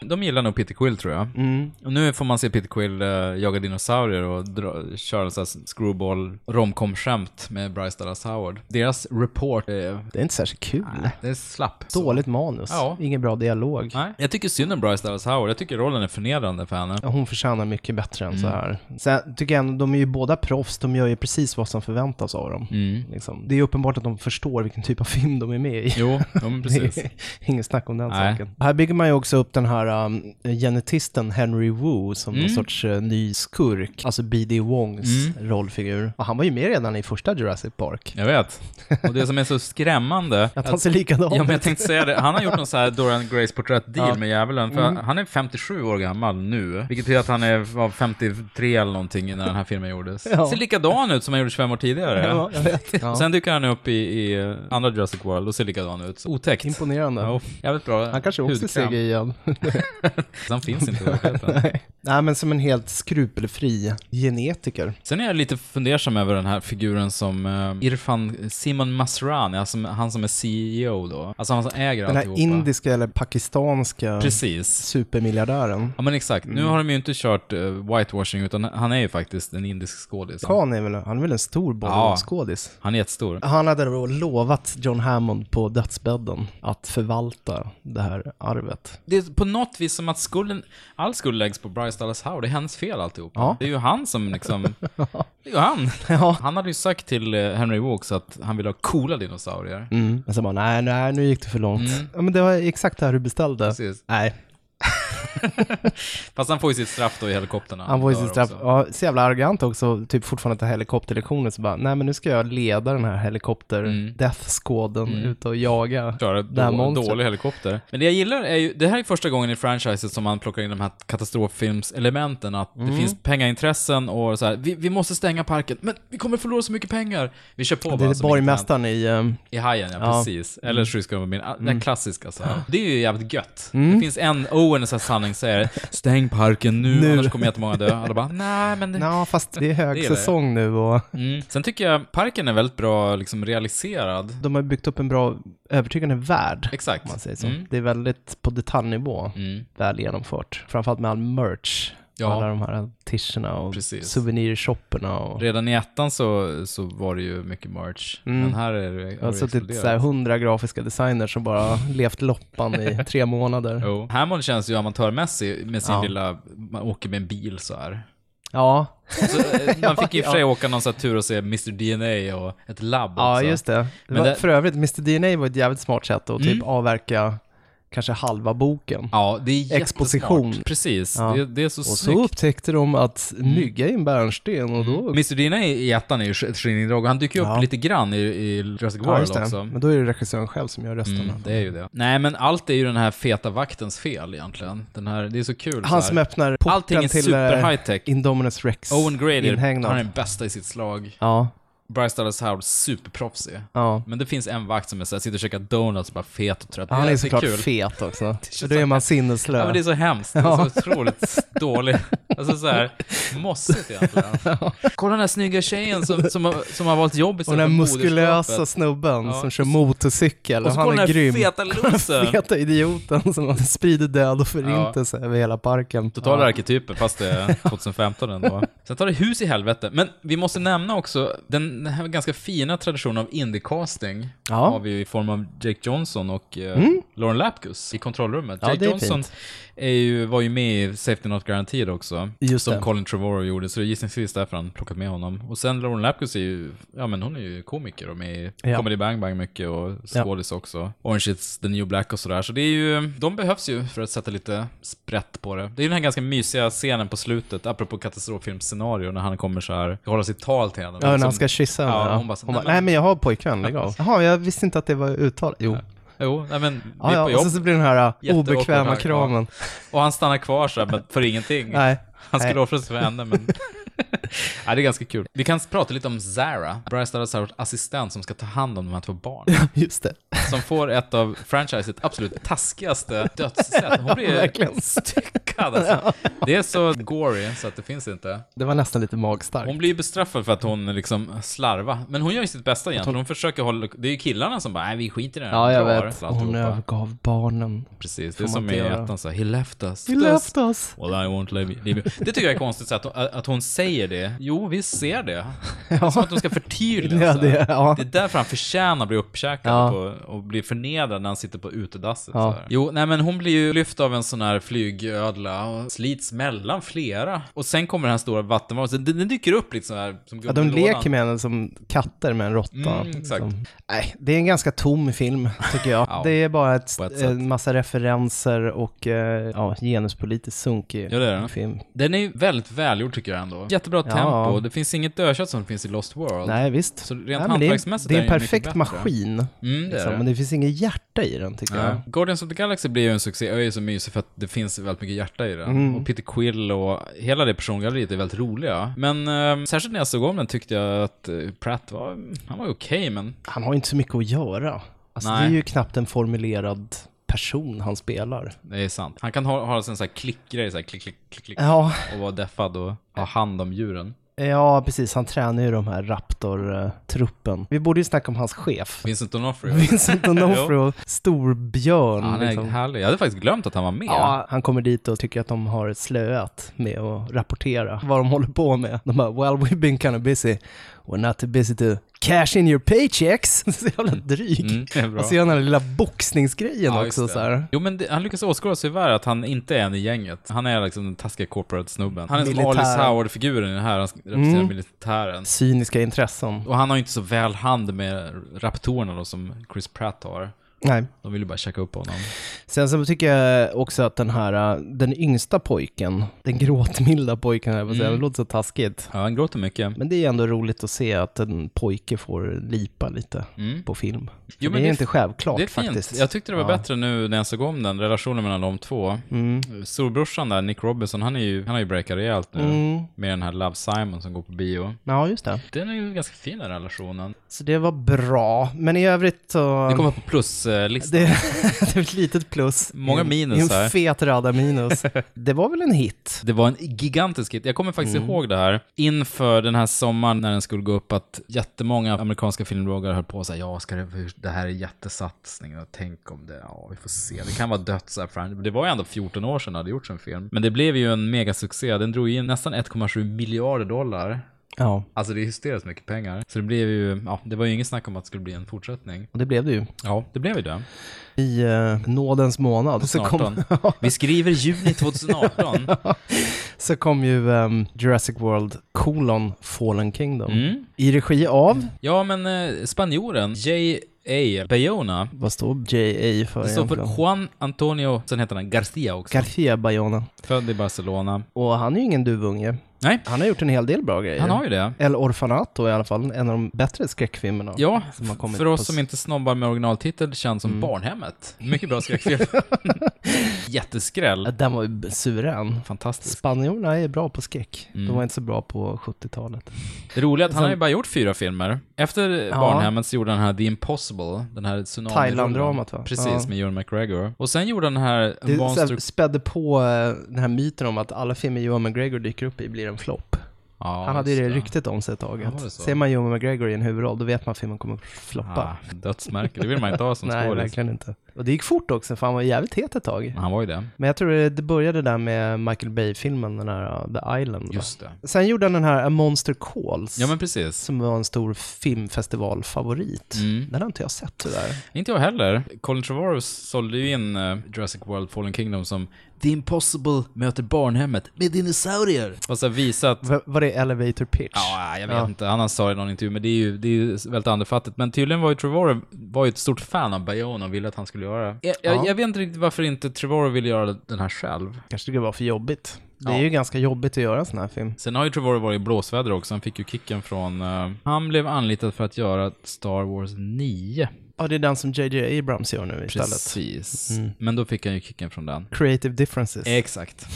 Speaker 2: [LAUGHS]
Speaker 1: De gillar nog Peter Quill tror jag.
Speaker 2: Mm.
Speaker 1: Och nu får man se Peter Quill eh, jaga dinosaurier och dra, köra så här screwball romcom-skämt med Bryce Dallas Howard. Deras report är...
Speaker 2: Det är inte särskilt kul.
Speaker 1: Det är slapp.
Speaker 2: Dåligt manus.
Speaker 1: Ja.
Speaker 2: Ingen bra dialog.
Speaker 1: Nej, jag tycker synd om Bryce Dallas Howard. Jag tycker rollen är förnedrande för henne.
Speaker 2: Ja, Hon förtjänar mycket bättre än så
Speaker 1: Mm.
Speaker 2: här. Sen tycker jag ändå, de är ju båda proffs, de gör ju precis vad som förväntas av dem.
Speaker 1: Mm.
Speaker 2: Liksom. Det är ju uppenbart att de förstår vilken typ av film de är med i.
Speaker 1: Jo, ja,
Speaker 2: [LAUGHS]
Speaker 1: men precis.
Speaker 2: Det är Ingen snack om den
Speaker 1: Nej.
Speaker 2: saken. Här bygger man ju också upp den här um, genetisten Henry Wu som någon
Speaker 1: Mm.
Speaker 2: sorts eh, ny skurk, alltså B.D. Wongs rollfigur. Och han var ju med redan i första Jurassic Park.
Speaker 1: Jag vet. Och det som är så skrämmande...
Speaker 2: Att han ser likadan
Speaker 1: Ja, men jag
Speaker 2: ut.
Speaker 1: tänkte säga det. Han har gjort någon så här Dorian Grays porträttdeal
Speaker 2: Ja.
Speaker 1: med djävulen. För
Speaker 2: Mm.
Speaker 1: han är 57 år gammal nu, vilket betyder att han är, var 53 eller någonting när den här filmen gjordes.
Speaker 2: Ja.
Speaker 1: Ser likadan ut som han gjorde 25 år tidigare.
Speaker 2: Ja, jag
Speaker 1: [LAUGHS]
Speaker 2: vet. Ja.
Speaker 1: Och Sen dyker han upp i, i eh, andra Jurassic World och ser likadan ut. Otäckt.
Speaker 2: Imponerande.
Speaker 1: Ja, jävligt bra
Speaker 2: Han kanske också
Speaker 1: hudkräm.
Speaker 2: ser igen.
Speaker 1: Så Han finns
Speaker 2: [LAUGHS]
Speaker 1: inte i verkligheten.
Speaker 2: Nej, men som en helt skrupelfri genetiker.
Speaker 1: Sen är jag lite fundersam över den här figuren som eh, Irfan Simon Masrani, alltså han som är CEO då. Alltså han som äger
Speaker 2: Den här
Speaker 1: alltihopa.
Speaker 2: indiska eller pakistanska
Speaker 1: Precis.
Speaker 2: supermiljardären.
Speaker 1: Ja men exakt. Nu
Speaker 2: Mm.
Speaker 1: har de ju inte kört eh, whitewashing utan han är ju faktiskt en indisk skådis.
Speaker 2: Khan är väl, han är väl en stor Bollywoodskådis?
Speaker 1: Han är jättestor.
Speaker 2: Han hade då lovat John Hammond på dödsbädden att förvalta det här arvet.
Speaker 1: Det är på något vis som att skulden, all skuld läggs på Bryce Dallas Howard. Det är hennes fel alltihop.
Speaker 2: Ja.
Speaker 1: Det är ju han som
Speaker 2: [LAUGHS]
Speaker 1: liksom, det är ju han. Han hade ju sagt till eh, Henry Walks att han vill ha coola dinosaurier.
Speaker 2: Mm. Men sen bara, nej, nej, nu gick det för långt.
Speaker 1: Mm.
Speaker 2: Ja, men det var exakt det här du beställde.
Speaker 1: Precis.
Speaker 2: Nej.
Speaker 1: Fast han får ju sitt straff då i helikoptern. när
Speaker 2: Han var ju
Speaker 1: dör
Speaker 2: så, straff,
Speaker 1: också.
Speaker 2: ja, så jävla arrogant också, typ fortfarande till helikopterlektioner så bara, nej men nu ska jag leda den här helikopter-death-skåden
Speaker 1: Mm.
Speaker 2: ut och jaga
Speaker 1: Köra
Speaker 2: det här
Speaker 1: då,
Speaker 2: monstret.
Speaker 1: dålig helikopter. Men det jag gillar är ju, det här är första gången i franchiset som man plockar in de här katastroffilmselementen, att
Speaker 2: Mm.
Speaker 1: det finns pengaintressen och så här, vi, vi måste stänga parken, men vi kommer förlora så mycket pengar. Vi kör på
Speaker 2: Det
Speaker 1: bara,
Speaker 2: är
Speaker 1: som inte
Speaker 2: borgmästaren i... ehm,
Speaker 1: händer. I hajen, ja,
Speaker 2: Ja.
Speaker 1: precis. Eller skyskrapan, den
Speaker 2: Mm.
Speaker 1: klassiska så här. Det är ju jävligt gött.
Speaker 2: Mm.
Speaker 1: Det finns en Owen i sanningssägare, stäng parken nu,
Speaker 2: Nu.
Speaker 1: annars kommer jättemånga dö. Alla bara, nej men det...
Speaker 2: Ja, fast det är
Speaker 1: Det
Speaker 2: högsäsong nu och
Speaker 1: Mm. Sen tycker jag parken är väldigt bra liksom realiserad.
Speaker 2: de har byggt upp en bra övertygande värld.
Speaker 1: Exakt.
Speaker 2: Om man säger så.
Speaker 1: Mm.
Speaker 2: Det är väldigt på detaljnivå väl genomfört. Framförallt med all merch.
Speaker 1: Ja.
Speaker 2: Alla de här tischerna och
Speaker 1: Precis.
Speaker 2: souvenirshopperna. Och...
Speaker 1: Redan i ettan så, så var det ju mycket merch,
Speaker 2: Mm.
Speaker 1: men här är det
Speaker 2: Jag har suttit
Speaker 1: exploderat.
Speaker 2: så här hundra grafiska designers
Speaker 1: [LAUGHS]
Speaker 2: som bara levt loppan i tre månader.
Speaker 1: Jo. Hammond känns ju amatörmässig med sin
Speaker 2: Ja.
Speaker 1: lilla, man åker med en bil så här.
Speaker 2: Ja,
Speaker 1: Så, eh, man fick i och för sig
Speaker 2: [LAUGHS] Ja.
Speaker 1: åka någon så här tur och se Mr DNA och ett labb
Speaker 2: ja
Speaker 1: också.
Speaker 2: just det. det,
Speaker 1: Alltså. Men
Speaker 2: var,
Speaker 1: det-
Speaker 2: För övrigt, Mr DNA var ett jävligt smart sätt att typ
Speaker 1: Mm.
Speaker 2: avverka kanske halva boken.
Speaker 1: Ja, det är jättesmart.
Speaker 2: Exposition.
Speaker 1: Precis,
Speaker 2: Ja.
Speaker 1: det, det är så
Speaker 2: och så
Speaker 1: snyggt. Mm.
Speaker 2: upptäckte de att mygga är en bärnsten och då...
Speaker 1: Mr DNA i ettan är ju ett genindrag och han dyker ju upp lite grann i, i Jurassic
Speaker 2: Ja,
Speaker 1: World
Speaker 2: just det.
Speaker 1: också.
Speaker 2: Men då är det regissören själv som gör rösterna.
Speaker 1: Mm, det är ju det. Nej, men allt är ju den här feta vaktens fel egentligen. Den här, det är så kul. så
Speaker 2: Han
Speaker 1: här.
Speaker 2: som öppnar
Speaker 1: Allting
Speaker 2: porten
Speaker 1: är
Speaker 2: till eh,
Speaker 1: super high-tech.
Speaker 2: Indominus Rex
Speaker 1: Owen Grady,
Speaker 2: inhägnad.
Speaker 1: han är den bästa i sitt slag.
Speaker 2: Ja,
Speaker 1: Bryce Dallas Howard, superproffsig.
Speaker 2: Ja.
Speaker 1: Men det finns en vakt som är så här, sitter och käkar donuts bara fet och trött.
Speaker 2: han
Speaker 1: Det
Speaker 2: är
Speaker 1: det
Speaker 2: såklart
Speaker 1: kul.
Speaker 2: fet också. Och Då är man sinneslö.
Speaker 1: Ja, men det är så hemskt. Det är
Speaker 2: Ja.
Speaker 1: så otroligt dåligt. Alltså så här, mossigt
Speaker 2: [LAUGHS]
Speaker 1: egentligen. Kolla den här snygga tjejen som, som, har, som har valt jobb
Speaker 2: Och
Speaker 1: istället
Speaker 2: den här
Speaker 1: för
Speaker 2: muskulösa
Speaker 1: moderskapet.
Speaker 2: snubben
Speaker 1: Ja.
Speaker 2: som kör motorcykel.
Speaker 1: Och
Speaker 2: Och
Speaker 1: så
Speaker 2: han
Speaker 1: kolla
Speaker 2: är
Speaker 1: den här
Speaker 2: grym.
Speaker 1: feta losern.
Speaker 2: [LAUGHS] feta idioten som sprider död och förintelse över hela parken.
Speaker 1: Totala
Speaker 2: Ja.
Speaker 1: arketyper, fast det är
Speaker 2: [LAUGHS]
Speaker 1: 2015 ändå. Sen tar det hus i helvete. Men vi måste nämna också den här ganska fina traditionen av indiecasting.
Speaker 2: Ja. Mm.
Speaker 1: Har vi ju i form av Jake Johnson och eh, Lauren Lapkus i kontrollrummet.
Speaker 2: Ja,
Speaker 1: Jake
Speaker 2: det är
Speaker 1: Johnson
Speaker 2: fint.
Speaker 1: är ju, var ju med i Safety Not Guaranteed också.
Speaker 2: Just
Speaker 1: som
Speaker 2: det.
Speaker 1: Colin Trevorrow gjorde, så det är gissningsvis därför han plockat med honom. Och sen Lauren Lapkus är ju, ja men hon är ju komiker och med i
Speaker 2: Ja.
Speaker 1: Comedy Bang Bang mycket och skådis också. Orange is the new black och sådär. Så det är ju, de behövs ju för att sätta lite sprätt på det. Det är ju den här ganska mysiga scenen på slutet, apropå katastroffilmscenario, när han kommer så här, ska hålla sitt tal till henne.
Speaker 2: Ja, när
Speaker 1: Liksom-
Speaker 2: han ska kyssa henne.
Speaker 1: Ja,
Speaker 2: Ja,
Speaker 1: hon bara så,
Speaker 2: nej, men jag har pojkvän, lägg av. Jaha, jag visste inte att det var uttal. Jo.
Speaker 1: Jo, nej men, vi
Speaker 2: Ja,
Speaker 1: är
Speaker 2: ja,
Speaker 1: på
Speaker 2: och
Speaker 1: jobb.
Speaker 2: sen så blir den här uh,
Speaker 1: Jätteawkward
Speaker 2: obekväma
Speaker 1: här, ja.
Speaker 2: kramen.
Speaker 1: Och han stannar kvar så här, men för ingenting.
Speaker 2: Nej.
Speaker 1: Mm. Han skulle
Speaker 2: Nej.
Speaker 1: offra sig för henne, men... Nej, det är ganska kul. Vi kan prata lite om Zara, Bryce Dallas Howards assistent som ska ta hand om de här två
Speaker 2: [LAUGHS]
Speaker 1: barnen.
Speaker 2: [LAUGHS] Just det.
Speaker 1: Som får ett av franchiset absolut taskigaste dödssätt. Hon blir
Speaker 2: [LAUGHS] verkligen.
Speaker 1: ju styckad alltså. Det är så gory så att det finns inte.
Speaker 2: Det var nästan lite magstarkt.
Speaker 1: Hon blir ju bestraffad för att hon liksom slarva. Men hon gör ju sitt bästa egentligen. Hon försöker hålla... Det är ju killarna som bara, nej vi skiter i det här.
Speaker 2: Ja, jag
Speaker 1: drar",
Speaker 2: vet.
Speaker 1: alltså, alltihopa.
Speaker 2: Hon övergav barnen.
Speaker 1: Precis, det
Speaker 2: Får
Speaker 1: är som
Speaker 2: man inte
Speaker 1: i
Speaker 2: göra.
Speaker 1: ettan så här, he left us.
Speaker 2: He left us.
Speaker 1: Well I won't leave you. leave you." Det tycker jag är konstigt så att, att hon säger det. Jo, vi ser det. Det är som att hon ska förtydliga.
Speaker 2: Ja,
Speaker 1: så här.
Speaker 2: det- ja.
Speaker 1: det är därför han förtjänar att bli uppkäkad
Speaker 2: Ja.
Speaker 1: på, och bli förnedrad när han sitter på utedasset.
Speaker 2: Ja.
Speaker 1: så här. Jo, nej men hon blir ju lyft av en sån här flygödla och slits mellan flera. Och sen kommer den här stora vattenvarelsen. Den, den dyker upp lite så här som
Speaker 2: Ja,
Speaker 1: gubben
Speaker 2: de
Speaker 1: i lådan.
Speaker 2: leker med liksom. henne som katter med en råtta.
Speaker 1: Mm, exakt.
Speaker 2: Som- Nej, det är en ganska tom film, tycker jag.
Speaker 1: [LAUGHS] Ja,
Speaker 2: det är bara ett,
Speaker 1: på ett sätt.
Speaker 2: en massa referenser och eh, ja, genuspolitiskt sunkig
Speaker 1: Ja, det är den.
Speaker 2: film.
Speaker 1: Den är ju väldigt välgjord tycker jag ändå. Jättebra
Speaker 2: Ja.
Speaker 1: tempo. Det finns inget dödkött som finns i Lost World.
Speaker 2: Nej, visst.
Speaker 1: Så rent
Speaker 2: Nej, men det, är,
Speaker 1: hantverksmässigt
Speaker 2: det är en
Speaker 1: är den ju
Speaker 2: perfekt
Speaker 1: mycket bättre.
Speaker 2: maskin. liksom.
Speaker 1: Mm, det är det.
Speaker 2: Men det finns inget hjärta i den, tycker
Speaker 1: Ja.
Speaker 2: jag.
Speaker 1: Guardians of the Galaxy blir ju en succé och är ju så mysig för att det finns väldigt mycket hjärta i den.
Speaker 2: Mm.
Speaker 1: Och Peter Quill och hela det persongalleriet är väldigt roliga. Men eh, särskilt när jag såg om den tyckte jag att eh, Pratt var, han var ju okej men...
Speaker 2: Han har ju inte så mycket att göra. Alltså, det
Speaker 1: Nej.
Speaker 2: är ju knappt en formulerad person han spelar.
Speaker 1: Det är sant. Han kan ha, ha en sån här klickgrej, så här klick, klick, klick, klick.
Speaker 2: Ja.
Speaker 1: Och vara deffad och ha hand om djuren.
Speaker 2: Ja, precis. Han tränar ju de här Raptor-truppen. Vi borde ju snacka om hans [LAUGHS] chef.
Speaker 1: Vincent Onofrio.
Speaker 2: Vincent Onofrio, storbjörn.
Speaker 1: [LAUGHS] Ja, han är
Speaker 2: liksom.
Speaker 1: härlig. Jag hade faktiskt glömt att han var med.
Speaker 2: Ja, han kommer dit och tycker att de har slöat med att rapportera vad de håller på med. De bara, well we've been kind of busy. We're not too busy to cash in your paychecks. [LAUGHS] Så jävla dryg.
Speaker 1: Mm, det är bra.
Speaker 2: och så gör han den här lilla boxningsgrejen
Speaker 1: Ja, just
Speaker 2: också
Speaker 1: det.
Speaker 2: så här.
Speaker 1: Jo men det, han lyckas åskåda sig värre att han inte är en i gänget. Han är liksom den taskiga corporate-snubben. Han är som
Speaker 2: Militären.
Speaker 1: Alice Howard-figuren i den här, han representerar
Speaker 2: Mm.
Speaker 1: militären.
Speaker 2: Cyniska intressen.
Speaker 1: Och han har ju inte så väl hand med raptorerna då som Chris Pratt har.
Speaker 2: Nej.
Speaker 1: De ville bara checka upp honom.
Speaker 2: Sen så tycker jag också att den här, äh, den yngsta pojken, den gråtmilda pojken, jag säga,
Speaker 1: Mm.
Speaker 2: det låter så taskigt.
Speaker 1: Ja, han gråter mycket.
Speaker 2: Men det är ju ändå roligt att se att en pojke får lipa lite på film.
Speaker 1: Mm. Jo,
Speaker 2: det
Speaker 1: men
Speaker 2: är
Speaker 1: det är
Speaker 2: inte
Speaker 1: f-
Speaker 2: självklart
Speaker 1: det är fint.
Speaker 2: faktiskt.
Speaker 1: Jag tyckte det var
Speaker 2: Ja.
Speaker 1: bättre nu när jag såg om den, relationen mellan de två. Storbrorsan där, Nick Robinson, han, är ju, han har ju breakat rejält nu
Speaker 2: Mm.
Speaker 1: med den här Love Simon som går på bio.
Speaker 2: Ja, just det.
Speaker 1: Den är ju ganska fin den relationen.
Speaker 2: Så det var bra. Men i övrigt så...
Speaker 1: Det kommer på eh, pluslistan.
Speaker 2: [LAUGHS] Det, det är ett litet plus.
Speaker 1: Många
Speaker 2: I en-
Speaker 1: minus
Speaker 2: i en
Speaker 1: här.
Speaker 2: fet
Speaker 1: [LAUGHS]
Speaker 2: radda minus. Det var väl en hit?
Speaker 1: Det var en gigantisk hit. Jag kommer faktiskt
Speaker 2: Mm.
Speaker 1: ihåg det här inför den här sommaren när den skulle gå upp att jättemånga amerikanska filmbloggar höll på att säga ja, ska det, hur- det här är jättesatsning och tänk om det, ja vi får se, det kan vara dött så här fram. Det var ju ändå 14 år sedan det hade gjorts en film. Men det blev ju en megasuccé, den drog in nästan 1,7 miljarder dollar.
Speaker 2: Ja.
Speaker 1: Alltså det är hysteriskt mycket pengar. Så det blev ju, ja det var ju inget snack om att det skulle bli en fortsättning.
Speaker 2: Och det blev det ju.
Speaker 1: Ja, det blev ju det.
Speaker 2: I eh, nådens månad så kom, [LAUGHS]
Speaker 1: 2018. Vi skriver juni 2018.
Speaker 2: så kom ju ehm, Jurassic World colon Fallen Kingdom.
Speaker 1: Mm.
Speaker 2: I regi av,
Speaker 1: Ja, men eh, spanjoren J.A. Bayona.
Speaker 2: vad står J.A. för
Speaker 1: Det står för
Speaker 2: egentligen?
Speaker 1: Juan Antonio, sen heter han Garcia också.
Speaker 2: Garcia Bayona.
Speaker 1: Född i Barcelona.
Speaker 2: Och han är ju ingen duvunge.
Speaker 1: Nej.
Speaker 2: Han har gjort en hel del bra grejer.
Speaker 1: Han har ju det.
Speaker 2: El Orfanato i alla fall, en av de bättre skräckfilmerna.
Speaker 1: Ja,
Speaker 2: som har kommit
Speaker 1: för oss
Speaker 2: på- Mm.
Speaker 1: som inte snobbar med originaltitel känns som Barnhemmet. Mycket bra skräckfilm.
Speaker 2: [LAUGHS]
Speaker 1: Jätteskräll.
Speaker 2: Ja, Den var ju b- suverän.
Speaker 1: Fantastisk.
Speaker 2: Spanjorerna är bra på skräck.
Speaker 1: Mm.
Speaker 2: De var inte så bra på 70-talet.
Speaker 1: Det roliga är att han
Speaker 2: Sen-
Speaker 1: har ju bara gjort fyra filmer. Efter
Speaker 2: Alltså- Ja.
Speaker 1: Barnhemmet så gjorde han den här The Impossible, den här tsunamin
Speaker 2: Thailand-dramat, va?
Speaker 1: Precis,
Speaker 2: Ja.
Speaker 1: med Ewan McGregor. Och sen gjorde han den här
Speaker 2: Det så
Speaker 1: Monster...
Speaker 2: här spädde på eh, den här myten om att alla filmer Johan McGregor dyker upp i blir en flopp.
Speaker 1: Ja,
Speaker 2: han hade ju
Speaker 1: just
Speaker 2: det ryktet om sig ett tag.
Speaker 1: Ja, var
Speaker 2: att
Speaker 1: det så?
Speaker 2: Ser man Johan McGregor i en huvudroll, då vet man att filmen kommer att floppa.
Speaker 1: Ah, dödsmärke, det vill man inte ha som
Speaker 2: [LAUGHS] Nej,
Speaker 1: skådis.
Speaker 2: verkligen inte. Och det gick fort också, för han var jävligt het ett tag.
Speaker 1: Han var ju det.
Speaker 2: Men jag tror det det började där med Michael Bay-filmen, den här uh, The Island. va?
Speaker 1: Just det.
Speaker 2: Sen gjorde han den här A Monster Calls,
Speaker 1: Ja, men precis.
Speaker 2: som var en stor filmfestivalfavorit.
Speaker 1: Mm.
Speaker 2: Den har inte jag sett tyvärr.
Speaker 1: Inte jag heller. Colin Trevorrow sålde ju in eh, Jurassic World Fallen Kingdom som The Impossible möter barnhemmet med dinosaurier. Och så visa att...
Speaker 2: Va- var det Elevator Pitch?
Speaker 1: Ja, jag vet inte. Han sa det i någon intervju, men det är ju, det är ju väldigt andefattigt. Men tydligen var ju Trevorrow var ju ett stort fan av Bayona och ville att han skulle göra det. Jag, jag,
Speaker 2: Ja.
Speaker 1: jag vet inte riktigt varför inte Trevorrow ville göra den här själv.
Speaker 2: Kanske det var för jobbigt. Det
Speaker 1: Ja.
Speaker 2: är ju ganska jobbigt att göra en sån här film.
Speaker 1: Sen har ju Trevorrow varit i blåsväder också. Han fick ju kicken från... eh, han blev anlitad för att göra Star Wars 9.
Speaker 2: Ja, det är den som J.J. Abrams gör nu istället.
Speaker 1: Precis.
Speaker 2: Mm.
Speaker 1: Men då fick han ju kicken från den.
Speaker 2: Creative differences.
Speaker 1: Exakt.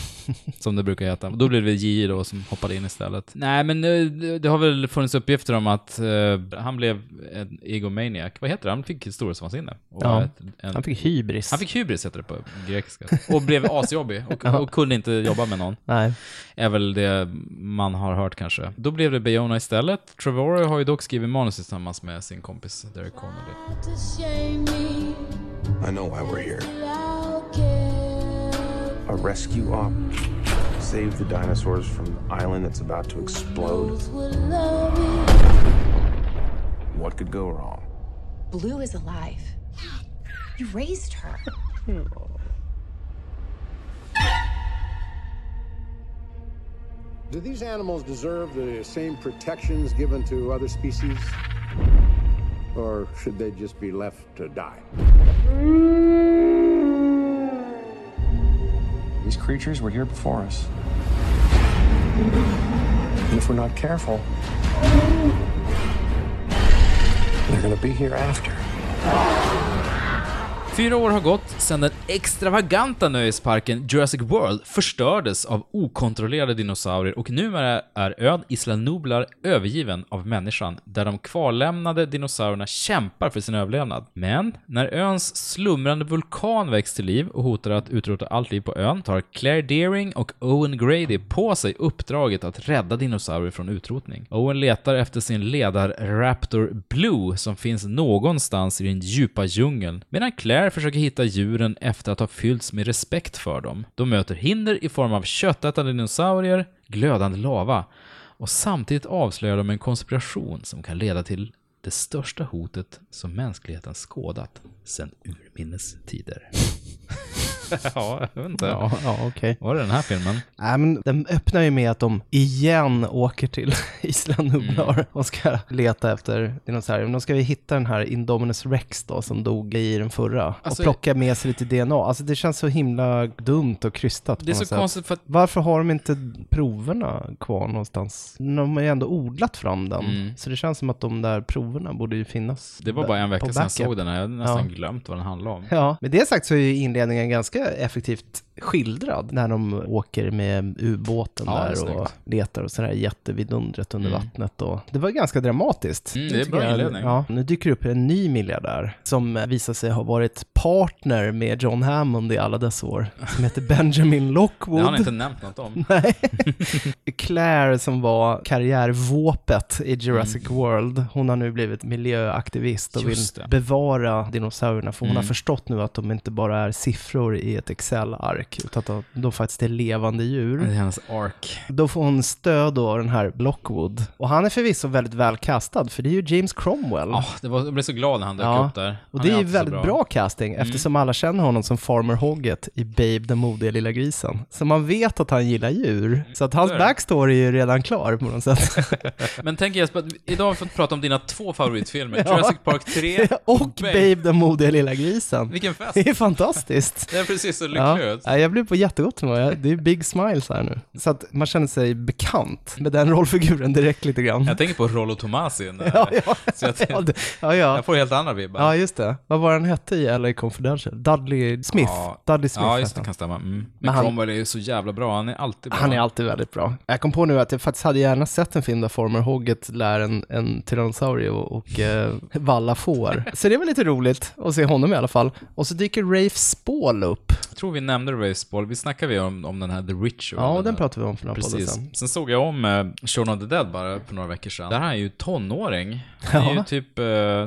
Speaker 1: Som det brukar heta. Då blev det JJ då som hoppade in istället. Nej, men eh, det det har väl funnits uppgifter om att eh, han blev en egomaniac. Vad heter det? Han fick ett storhetsvansinne. Och
Speaker 2: Ja.
Speaker 1: var ett- en-
Speaker 2: [LAUGHS] Han fick hybris.
Speaker 1: han fick hybris, heter det på grekiska. Och blev asjobbig och, och kunde inte jobba med någon.
Speaker 2: Nej.
Speaker 1: Är väl det man har hört kanske. Då blev det Bayona istället. Trevorrow har ju dock skrivit manus tillsammans med sin kompis Derek Connolly.
Speaker 5: I know why we're here. A rescue op. Save the dinosaurs from the island that's about to explode. What could go wrong?
Speaker 13: Blue is alive. You raised her.
Speaker 14: Do these animals deserve the same protections given to other species? Or should they just be left to die?
Speaker 7: These creatures were here before us. And if we're not careful, they're gonna be here after.
Speaker 1: Fyra år har gått sedan den extravaganta nöjesparken Jurassic World förstördes av okontrollerade dinosaurier och numera är ön Isla Nublar övergiven av människan, där de kvarlämnade dinosaurierna kämpar för sin överlevnad. Men när öns slumrande vulkan väcks till liv och hotar att utrota allt liv på ön tar Claire Deering och Owen Grady på sig uppdraget att rädda dinosaurier från utrotning. Owen letar efter sin ledar-raptor Blue som finns någonstans i den djupa djungeln, medan Claire försöker hitta djuren efter att ha fyllts med respekt för dem. De möter hinder i form av köttätande dinosaurier, glödande lava och samtidigt avslöjar de en konspiration som kan leda till det största hotet som mänskligheten skådat sedan urminnes tider. [LAUGHS] ja, jag vet inte.
Speaker 2: Ja, ja okej.
Speaker 1: Var det den här filmen?
Speaker 2: [LAUGHS] Nej, men den öppnar ju med att de igen åker till [LAUGHS] Island Nublar
Speaker 1: Mm.
Speaker 2: och ska leta efter dinosaurier. Men då ska vi hitta den här Indominus Rex då, som dog i den förra.
Speaker 1: Alltså-
Speaker 2: och plocka med sig lite DNA. Alltså det känns så himla dumt och krystat
Speaker 1: Det är
Speaker 2: på
Speaker 1: så
Speaker 2: något sätt.
Speaker 1: konstigt för att
Speaker 2: Varför har de inte proverna kvar någonstans? De har ju ändå odlat fram den.
Speaker 1: Mm.
Speaker 2: Så det känns som att de där proverna borde ju finnas.
Speaker 1: det var
Speaker 2: där
Speaker 1: bara en
Speaker 2: på
Speaker 1: vecka sedan jag
Speaker 2: backup.
Speaker 1: såg den här. Jag hade nästan
Speaker 2: Ja.
Speaker 1: glömt vad den handlade
Speaker 2: [LAUGHS]
Speaker 1: om.
Speaker 2: Ja, med det sagt så är ju inledningen ganska effektivt skildrad när de åker med ubåten
Speaker 1: Ja, det är
Speaker 2: där och
Speaker 1: snyggt.
Speaker 2: letar och sådär jättevidundret under
Speaker 1: Mm.
Speaker 2: vattnet. Och det var ganska dramatiskt.
Speaker 1: Mm, det är
Speaker 2: tycker
Speaker 1: bra
Speaker 2: jag.
Speaker 1: inledning.
Speaker 2: Ja, nu dyker det upp en ny miljardär som eh, visar sig ha varit partner med John Hammond i alla dessa år, som heter Benjamin
Speaker 1: [LAUGHS]
Speaker 2: Lockwood.
Speaker 1: Det har han inte nämnt något
Speaker 2: [LAUGHS]
Speaker 1: om.
Speaker 2: Nej. Claire som var karriärvåpet i Jurassic World, hon har nu blivit miljöaktivist och vill
Speaker 1: Mm. Just det.
Speaker 2: bevara dinosaurierna, för hon
Speaker 1: Mm.
Speaker 2: har förstått nu att de inte bara är siffror i ett Excel-ark, utan att de, de faktiskt är levande djur.
Speaker 1: Det är hennes ark.
Speaker 2: Då får hon stöd då av den här Blockwood. Och han är förvisso väldigt väl kastad, för det är ju James Cromwell.
Speaker 1: Ja, det var, jag blev så glad när han dök
Speaker 2: Ja.
Speaker 1: upp där.
Speaker 2: Och
Speaker 1: Han
Speaker 2: det är ju
Speaker 1: alltid så Mm.
Speaker 2: väldigt bra. casting eftersom alla känner honom som Farmer Hoggett i Babe den modiga lilla grisen. Så man vet att han gillar djur. Så att hans
Speaker 1: Så är det.
Speaker 2: backstory är ju redan klar på
Speaker 1: [LAUGHS]
Speaker 2: något sätt.
Speaker 1: Men tänk Jesper, att idag har vi fått prata om dina två favoritfilmer,
Speaker 2: [LAUGHS] Ja.
Speaker 1: Jurassic Park
Speaker 2: [LAUGHS]
Speaker 1: 3
Speaker 2: Och Babe den modiga lilla grisen.
Speaker 1: Vilken fest!
Speaker 2: Det är fantastiskt.
Speaker 1: [LAUGHS] Det är precis så lycklig
Speaker 2: Ja.
Speaker 1: ut.
Speaker 2: Ja, jag blev på jättegott humör. Jag- Det är big smiles här nu. Så att man känner sig bekant med den rollfiguren direkt lite grann.
Speaker 1: Jag tänker på Rollo Tomasi när-
Speaker 2: [LAUGHS] Ja, ja.
Speaker 1: [LAUGHS] Så jag,
Speaker 2: Ja, det- ja, ja.
Speaker 1: jag får helt andra vibbar.
Speaker 2: Ja, just det. Vad var han hette i LA Confidential? Dudley Smith.
Speaker 1: Ja.
Speaker 2: Dudley Smith
Speaker 1: Ja,
Speaker 2: hette
Speaker 1: just det,
Speaker 2: han.
Speaker 1: kan stämma. Mm. Men,
Speaker 2: Men han-
Speaker 1: Cromwell är ju så jävla bra, han är alltid bra.
Speaker 2: Han är alltid väldigt bra. Jag kom på nu att jag faktiskt hade gärna sett en film där Former Hoggett lär en, en tyrannosaurie och, och eh, [LAUGHS] valla får. Så det var lite roligt att se honom i alla fall. Och så dyker Rafe Spall upp.
Speaker 1: Jag tror vi nämnde Raceball, vi snackade vi om, om den här The Ritual.
Speaker 2: Ja, den pratade vi om för några poddar
Speaker 1: Precis.
Speaker 2: sedan.
Speaker 1: Sen såg jag om eh, Shaun of the Dead bara för några veckor sedan. Där är han ju tonåring. Han är
Speaker 2: Ja.
Speaker 1: ju typ, eh,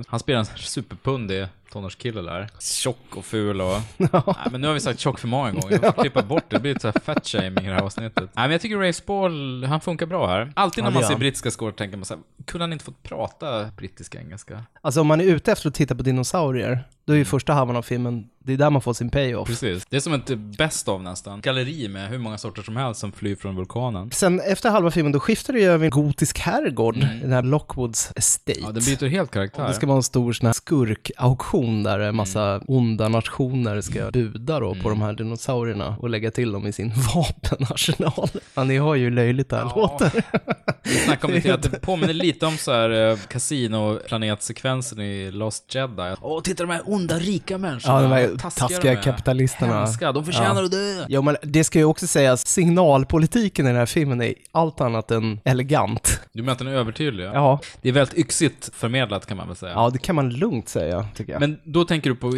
Speaker 1: han spelar en superpundig tonårskille där. Tjock och ful
Speaker 2: [LAUGHS]
Speaker 1: och... Nej, men nu har vi sagt tjock för många gånger. Jag får klippa bort det. Det blir lite så här fat-shaming i det här avsnittet. Nej, men jag tycker Ray Spall, han funkar bra här. Alltid
Speaker 2: Ja,
Speaker 1: när
Speaker 2: det
Speaker 1: man
Speaker 2: gör
Speaker 1: ser
Speaker 2: han.
Speaker 1: brittiska skådespelare tänker man så här, kunde han inte fått prata brittisk engelska?
Speaker 2: Alltså om man är ute efter att titta på dinosaurier, då är ju första halvan av filmen, det är där man får sin payoff.
Speaker 1: Precis. Det är som ett best av nästan. Galleri med hur många sorter som helst som flyr från vulkanen.
Speaker 2: Sen efter halva filmen, då skiftar det ju över en gotisk herrgård, den här Lockwoods Estate.
Speaker 1: Ja, den byter helt karaktär.
Speaker 2: Och Det ska vara en stor sån här skurkauktion där en massa onda nationer ska buda då på de här dinosaurierna och lägga till dem i sin [LAUGHS] vapenarsenal. Ja, ni har ju löjligt det här låter.
Speaker 1: Vi snackade om det till att det
Speaker 2: [LAUGHS]
Speaker 1: påminner lite om så här eh, kasinoplanetsekvensen i Lost Jedi. Åh, titta de här onda rika människorna.
Speaker 2: Ja, de här
Speaker 1: Taskiga
Speaker 2: taskiga,
Speaker 1: de är.
Speaker 2: kapitalisterna.
Speaker 1: Hemska, de förtjänar
Speaker 2: ja.
Speaker 1: att dö.
Speaker 2: Ja, men det ska ju också sägas, signalpolitiken i den här filmen är allt annat än elegant.
Speaker 1: Du menar att den är övertydlig?
Speaker 2: Ja.
Speaker 1: Det är väldigt yxigt förmedlat kan man väl säga.
Speaker 2: Ja, det kan man lugnt säga, tycker jag. Men
Speaker 1: Men då tänker du på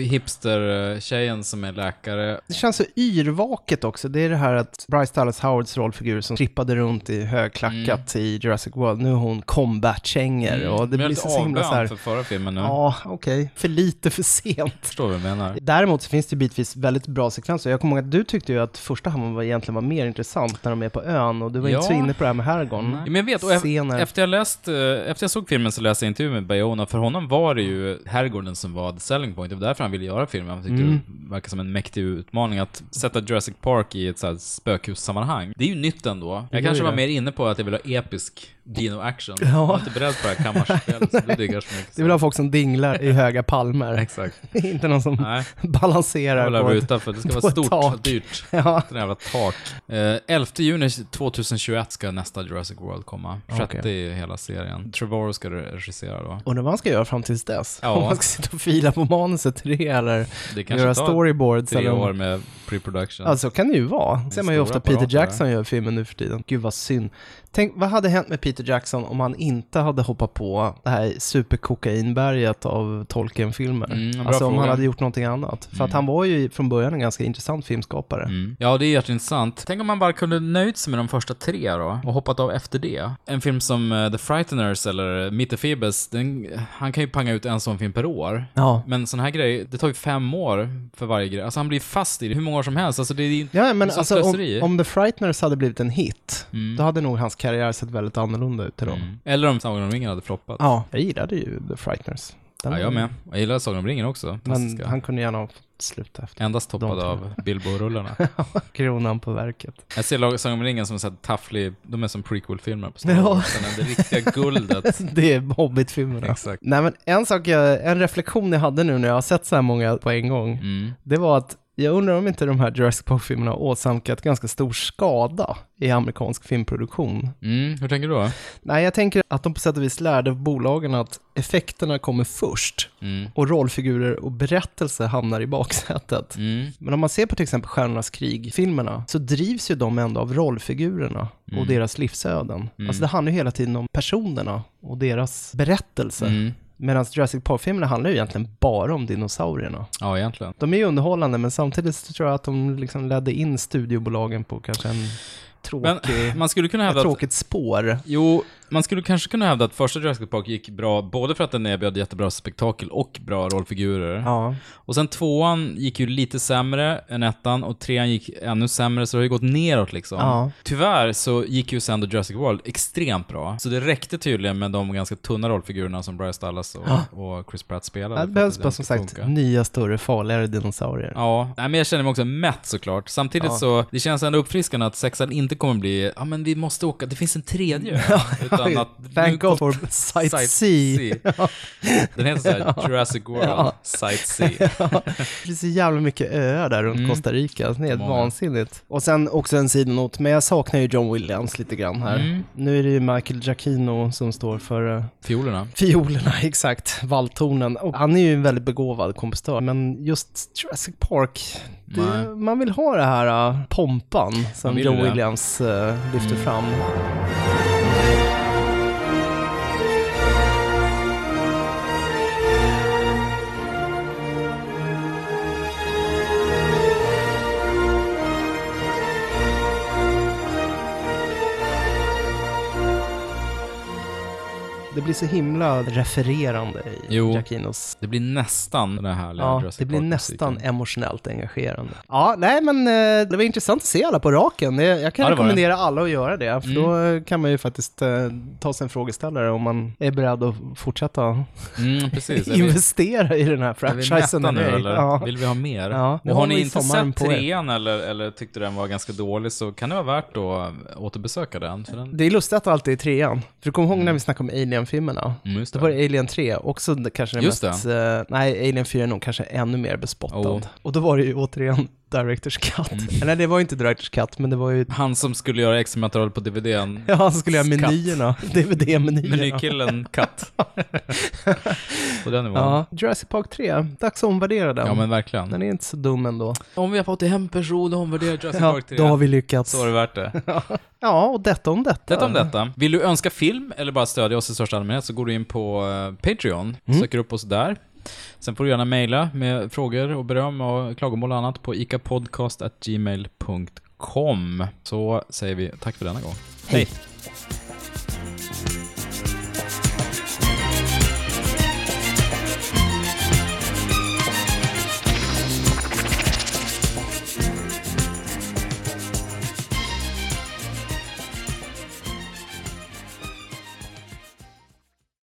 Speaker 1: hipster-tjejen som är läkare.
Speaker 2: det känns så yrvaket också. Det är det här att Bryce Dallas Howards rollfigur som trippade runt i högklackat
Speaker 1: Mm.
Speaker 2: i Jurassic World, nu har hon combat-kängor och det
Speaker 1: Men
Speaker 2: blir
Speaker 1: lite
Speaker 2: så, så himla
Speaker 1: avbön
Speaker 2: så här...
Speaker 1: för förra filmen nu.
Speaker 2: Ja, okej. För lite för sent.
Speaker 1: Förstår vad du menar.
Speaker 2: Däremot så finns det bitvis väldigt bra sekvenser. Jag kommer ihåg att du tyckte ju att första halvan var egentligen var mer intressant när de är på ön och du var
Speaker 1: Ja.
Speaker 2: inte så inne på det här med herrgården.
Speaker 1: Ja, Men jag vet, och e-
Speaker 2: Scener.
Speaker 1: efter jag, läst, eh, efter jag såg filmen så läste jag intervju med Bayona. För honom var det ju herrgården som var the selling point. Det var därför han ville göra filmen. Han tyckte
Speaker 2: Mm.
Speaker 1: det verkar som en mäktig utmaning att sätta Jurassic Park i ett så här spökhussammanhang. Det är ju nytt ändå.
Speaker 2: Det
Speaker 1: Jag
Speaker 2: är
Speaker 1: kanske
Speaker 2: ju
Speaker 1: var
Speaker 2: det.
Speaker 1: mer inne på att jag ville ha episk dino-action.
Speaker 2: Ja.
Speaker 1: Jag var inte beredd på det här kammarspelet som du diggar så
Speaker 2: [LAUGHS]
Speaker 1: mycket.
Speaker 2: Du vill ha folk som dinglar i höga palmer. [LAUGHS]
Speaker 1: Exakt.
Speaker 2: inte någon som
Speaker 1: Nej.
Speaker 2: balanserar
Speaker 1: Jag
Speaker 2: på
Speaker 1: vill
Speaker 2: ett,
Speaker 1: ruta för att det ska
Speaker 2: på
Speaker 1: vara
Speaker 2: ett
Speaker 1: stort
Speaker 2: tak.
Speaker 1: och dyrt.
Speaker 2: Ja.
Speaker 1: Den jävla tak. Eh, 11 juni 2021 ska nästa Jurassic World komma. 30 i hela serien. Trevorrow ska regissera då.
Speaker 2: Undrar vad han ska göra fram tills dess.
Speaker 1: Ja.
Speaker 2: Om han ska sitta och fila på manuset till det eller
Speaker 1: Det kanske
Speaker 2: göra
Speaker 1: tar
Speaker 2: storyboards.
Speaker 1: Tre
Speaker 2: eller om- Alltså-
Speaker 1: år med pre-production.
Speaker 2: Ja, så kan det ju vara. Det ser man ju
Speaker 1: stora
Speaker 2: ofta Peter
Speaker 1: apparater.
Speaker 2: Jackson gör filmer nu för tiden. Gud vad synd. Tänk, vad hade hänt med Peter Jackson om han inte hade hoppat på det här superkokainberget av Tolkien-filmer?
Speaker 1: Mm, bra
Speaker 2: alltså om han
Speaker 1: fråga.
Speaker 2: hade gjort någonting annat. För att han var ju från början en ganska intressant filmskapare.
Speaker 1: Mm. Ja, det är jätteintressant. Tänk om man bara kunde nöjt sig med de första tre då, och hoppat av efter det. En film som eh, The Frighteners eller eh, Meet the Phoebus, den, han kan ju panga ut en sån film per år.
Speaker 2: Ja.
Speaker 1: Men sån här grej, det tar ju fem år för varje grej. Alltså han blir fast i det hur många år som helst. Alltså det är ju
Speaker 2: Ja, men
Speaker 1: det är
Speaker 2: alltså om,
Speaker 1: slöseri. Mm.
Speaker 2: om The Frighteners hade blivit en hit, då hade nog hans karriär sett väldigt annorlunda ut idag.
Speaker 1: Eller om Sagan om ringen hade floppat.
Speaker 2: Ja, jag gillade ju The Frighteners.
Speaker 1: Ja, jag med. Jag gillar Sagan om ringen också.
Speaker 2: Men
Speaker 1: Fantastiska.
Speaker 2: han kunde gärna ha slutat efter.
Speaker 1: Endast toppad
Speaker 2: De-
Speaker 1: av Bilbo-rullarna.
Speaker 2: Kronan på verket.
Speaker 1: Jag ser Lag- Sagan om ringen som en sån här tafflig, de är som prequel-filmer på Star
Speaker 2: Ja.
Speaker 1: Wars. Ja. Det riktiga
Speaker 2: [LAUGHS]
Speaker 1: guldet.
Speaker 2: det är Hobbit-filmerna.
Speaker 1: Exakt.
Speaker 2: Nej, men en sak, jag, en reflektion jag hade nu när jag har sett så här många på en gång, det var att jag undrar om inte de här Jurassic Park-filmerna har åsamkat ganska stor skada i amerikansk filmproduktion.
Speaker 1: Mm, hur tänker du då?
Speaker 2: Nej, jag tänker att de på sätt och vis lärde bolagen att effekterna kommer först
Speaker 1: Mm.
Speaker 2: och rollfigurer och berättelse hamnar i baksätet.
Speaker 1: Mm.
Speaker 2: Men om man ser på till exempel Stjärnornas krig-filmerna så drivs ju de ändå av rollfigurerna
Speaker 1: Mm.
Speaker 2: och deras livsöden.
Speaker 1: Mm.
Speaker 2: Alltså det handlar ju hela tiden om personerna och deras berättelser.
Speaker 1: Mm.
Speaker 2: Medan Jurassic Park-filmerna handlar ju egentligen bara om dinosaurierna.
Speaker 1: Ja, egentligen.
Speaker 2: De är ju underhållande, men samtidigt så tror jag att de liksom ledde in studiobolagen på kanske en tråkig...
Speaker 1: [LAUGHS] Men man skulle kunna
Speaker 2: ett
Speaker 1: hävda att
Speaker 2: tråkigt spår.
Speaker 1: Jo, man skulle kanske kunna hävda att första Jurassic Park gick bra, både för att den erbjöd jättebra spektakel och bra rollfigurer.
Speaker 2: Ja.
Speaker 1: Och sen tvåan gick ju lite sämre än ettan och trean gick ännu sämre, så det har ju gått neråt liksom.
Speaker 2: Ja.
Speaker 1: Tyvärr så gick ju sen The Jurassic World extremt bra, så det räckte tydligen med de ganska tunna rollfigurerna som Bryce Dallas och,
Speaker 2: Ja.
Speaker 1: och Chris Pratt spelade.
Speaker 2: Det
Speaker 1: för
Speaker 2: behövs
Speaker 1: att
Speaker 2: bara som
Speaker 1: skulle
Speaker 2: sagt
Speaker 1: funka.
Speaker 2: nya, större, farligare dinosaurier.
Speaker 1: Ja, nej, men jag känner mig också mätt såklart. Samtidigt
Speaker 2: Ja.
Speaker 1: så, det känns ändå uppfriskande att sexan inte kommer bli, ja men vi måste åka, det finns en
Speaker 2: [LAUGHS]
Speaker 1: tredje. Utan att nu
Speaker 2: Thank God
Speaker 1: kom-
Speaker 2: for
Speaker 1: [LAUGHS]
Speaker 2: sightsee.
Speaker 1: Sightsee. Den heter såhär
Speaker 2: [LAUGHS] Ja.
Speaker 1: Jurassic World,
Speaker 2: Ja.
Speaker 1: Sightsee.
Speaker 2: Ja. Det finns så jävla mycket öar där
Speaker 1: Mm.
Speaker 2: runt Costa Rica. Det är helt
Speaker 1: Många.
Speaker 2: vansinnigt. Och sen också en sidonot, men jag saknar ju John Williams lite grann här.
Speaker 1: Mm.
Speaker 2: Nu är det ju Michael Giacchino som står för eh,
Speaker 1: Fiolerna.
Speaker 2: Fiolerna, [LAUGHS] exakt. Valthornen. Och han är ju en väldigt begåvad kompositör, men just Jurassic Park, det,
Speaker 1: Nej.
Speaker 2: man vill ha det här eh, pompan
Speaker 1: Man
Speaker 2: som
Speaker 1: vill
Speaker 2: John
Speaker 1: det.
Speaker 2: Williams eh, lyfter fram. Det blir så himla refererande i
Speaker 1: Jo.
Speaker 2: Giacchinos
Speaker 1: Det blir nästan den här härliga
Speaker 2: Ja,
Speaker 1: Jurassic
Speaker 2: det blir
Speaker 1: Park-musiken.
Speaker 2: nästan emotionellt engagerande. Ja, nej men eh, det var intressant att se alla på raken. Det- Jag kan
Speaker 1: Ja, det Mm. var
Speaker 2: rekommendera alla att göra det, för då eh, kan man ju faktiskt eh, ta sig en frågeställare om man är beredd att fortsätta
Speaker 1: Mm,
Speaker 2: [LAUGHS]
Speaker 1: precis. Är vi,
Speaker 2: investera i den här
Speaker 1: är vi
Speaker 2: franchisen.
Speaker 1: mätta nu
Speaker 2: ej.
Speaker 1: eller?
Speaker 2: Ja.
Speaker 1: Vill vi ha mer?
Speaker 2: Ja, nu
Speaker 1: Och har
Speaker 2: har
Speaker 1: ni
Speaker 2: vi
Speaker 1: inte
Speaker 2: sommaren
Speaker 1: sett
Speaker 2: på er.
Speaker 1: trean eller, eller tyckte den var ganska dålig så kan det vara värt att återbesöka den. För den
Speaker 2: Det är lustigt att allt är i trean. För du kommer ihåg när vi snackade om Alien-filmerna?
Speaker 1: Mm, just
Speaker 2: Då
Speaker 1: det.
Speaker 2: var det Alien 3, också det- kanske den
Speaker 1: Just
Speaker 2: mest... eh, nej, Alien 4 är nog kanske ännu mer bespottad.
Speaker 1: Oh. Mm.
Speaker 2: Och då var det ju återigen Directors Cut. Eller det var ju inte Directors Cut, men det var ju [LAUGHS]
Speaker 1: han som skulle göra extra material på DVDn.
Speaker 2: Ja, han skulle göra
Speaker 1: Cut.
Speaker 2: menyerna. [LAUGHS] DVD-menyerna.
Speaker 1: Menykillen
Speaker 2: [LAUGHS]
Speaker 1: Katt. På den nivån.
Speaker 2: Ja, Jurassic Park 3. Dags att omvärdera den.
Speaker 1: Ja men verkligen.
Speaker 2: Den är inte så dum ändå.
Speaker 1: Om vi har fått hem person och omvärderat Jurassic
Speaker 2: Ja,
Speaker 1: Park 3.
Speaker 2: då har vi lyckats.
Speaker 1: Så var det värt det.
Speaker 2: Ja, och detta om detta.
Speaker 1: Detta om detta. Vill du önska film eller bara stödja oss i största allmänhet så går du in på eh, Patreon, söker upp oss där. Sen får du gärna mejla med frågor och beröm och klagomål och annat på icapodcast.gmail.com. Så säger vi tack för denna gång. Hej!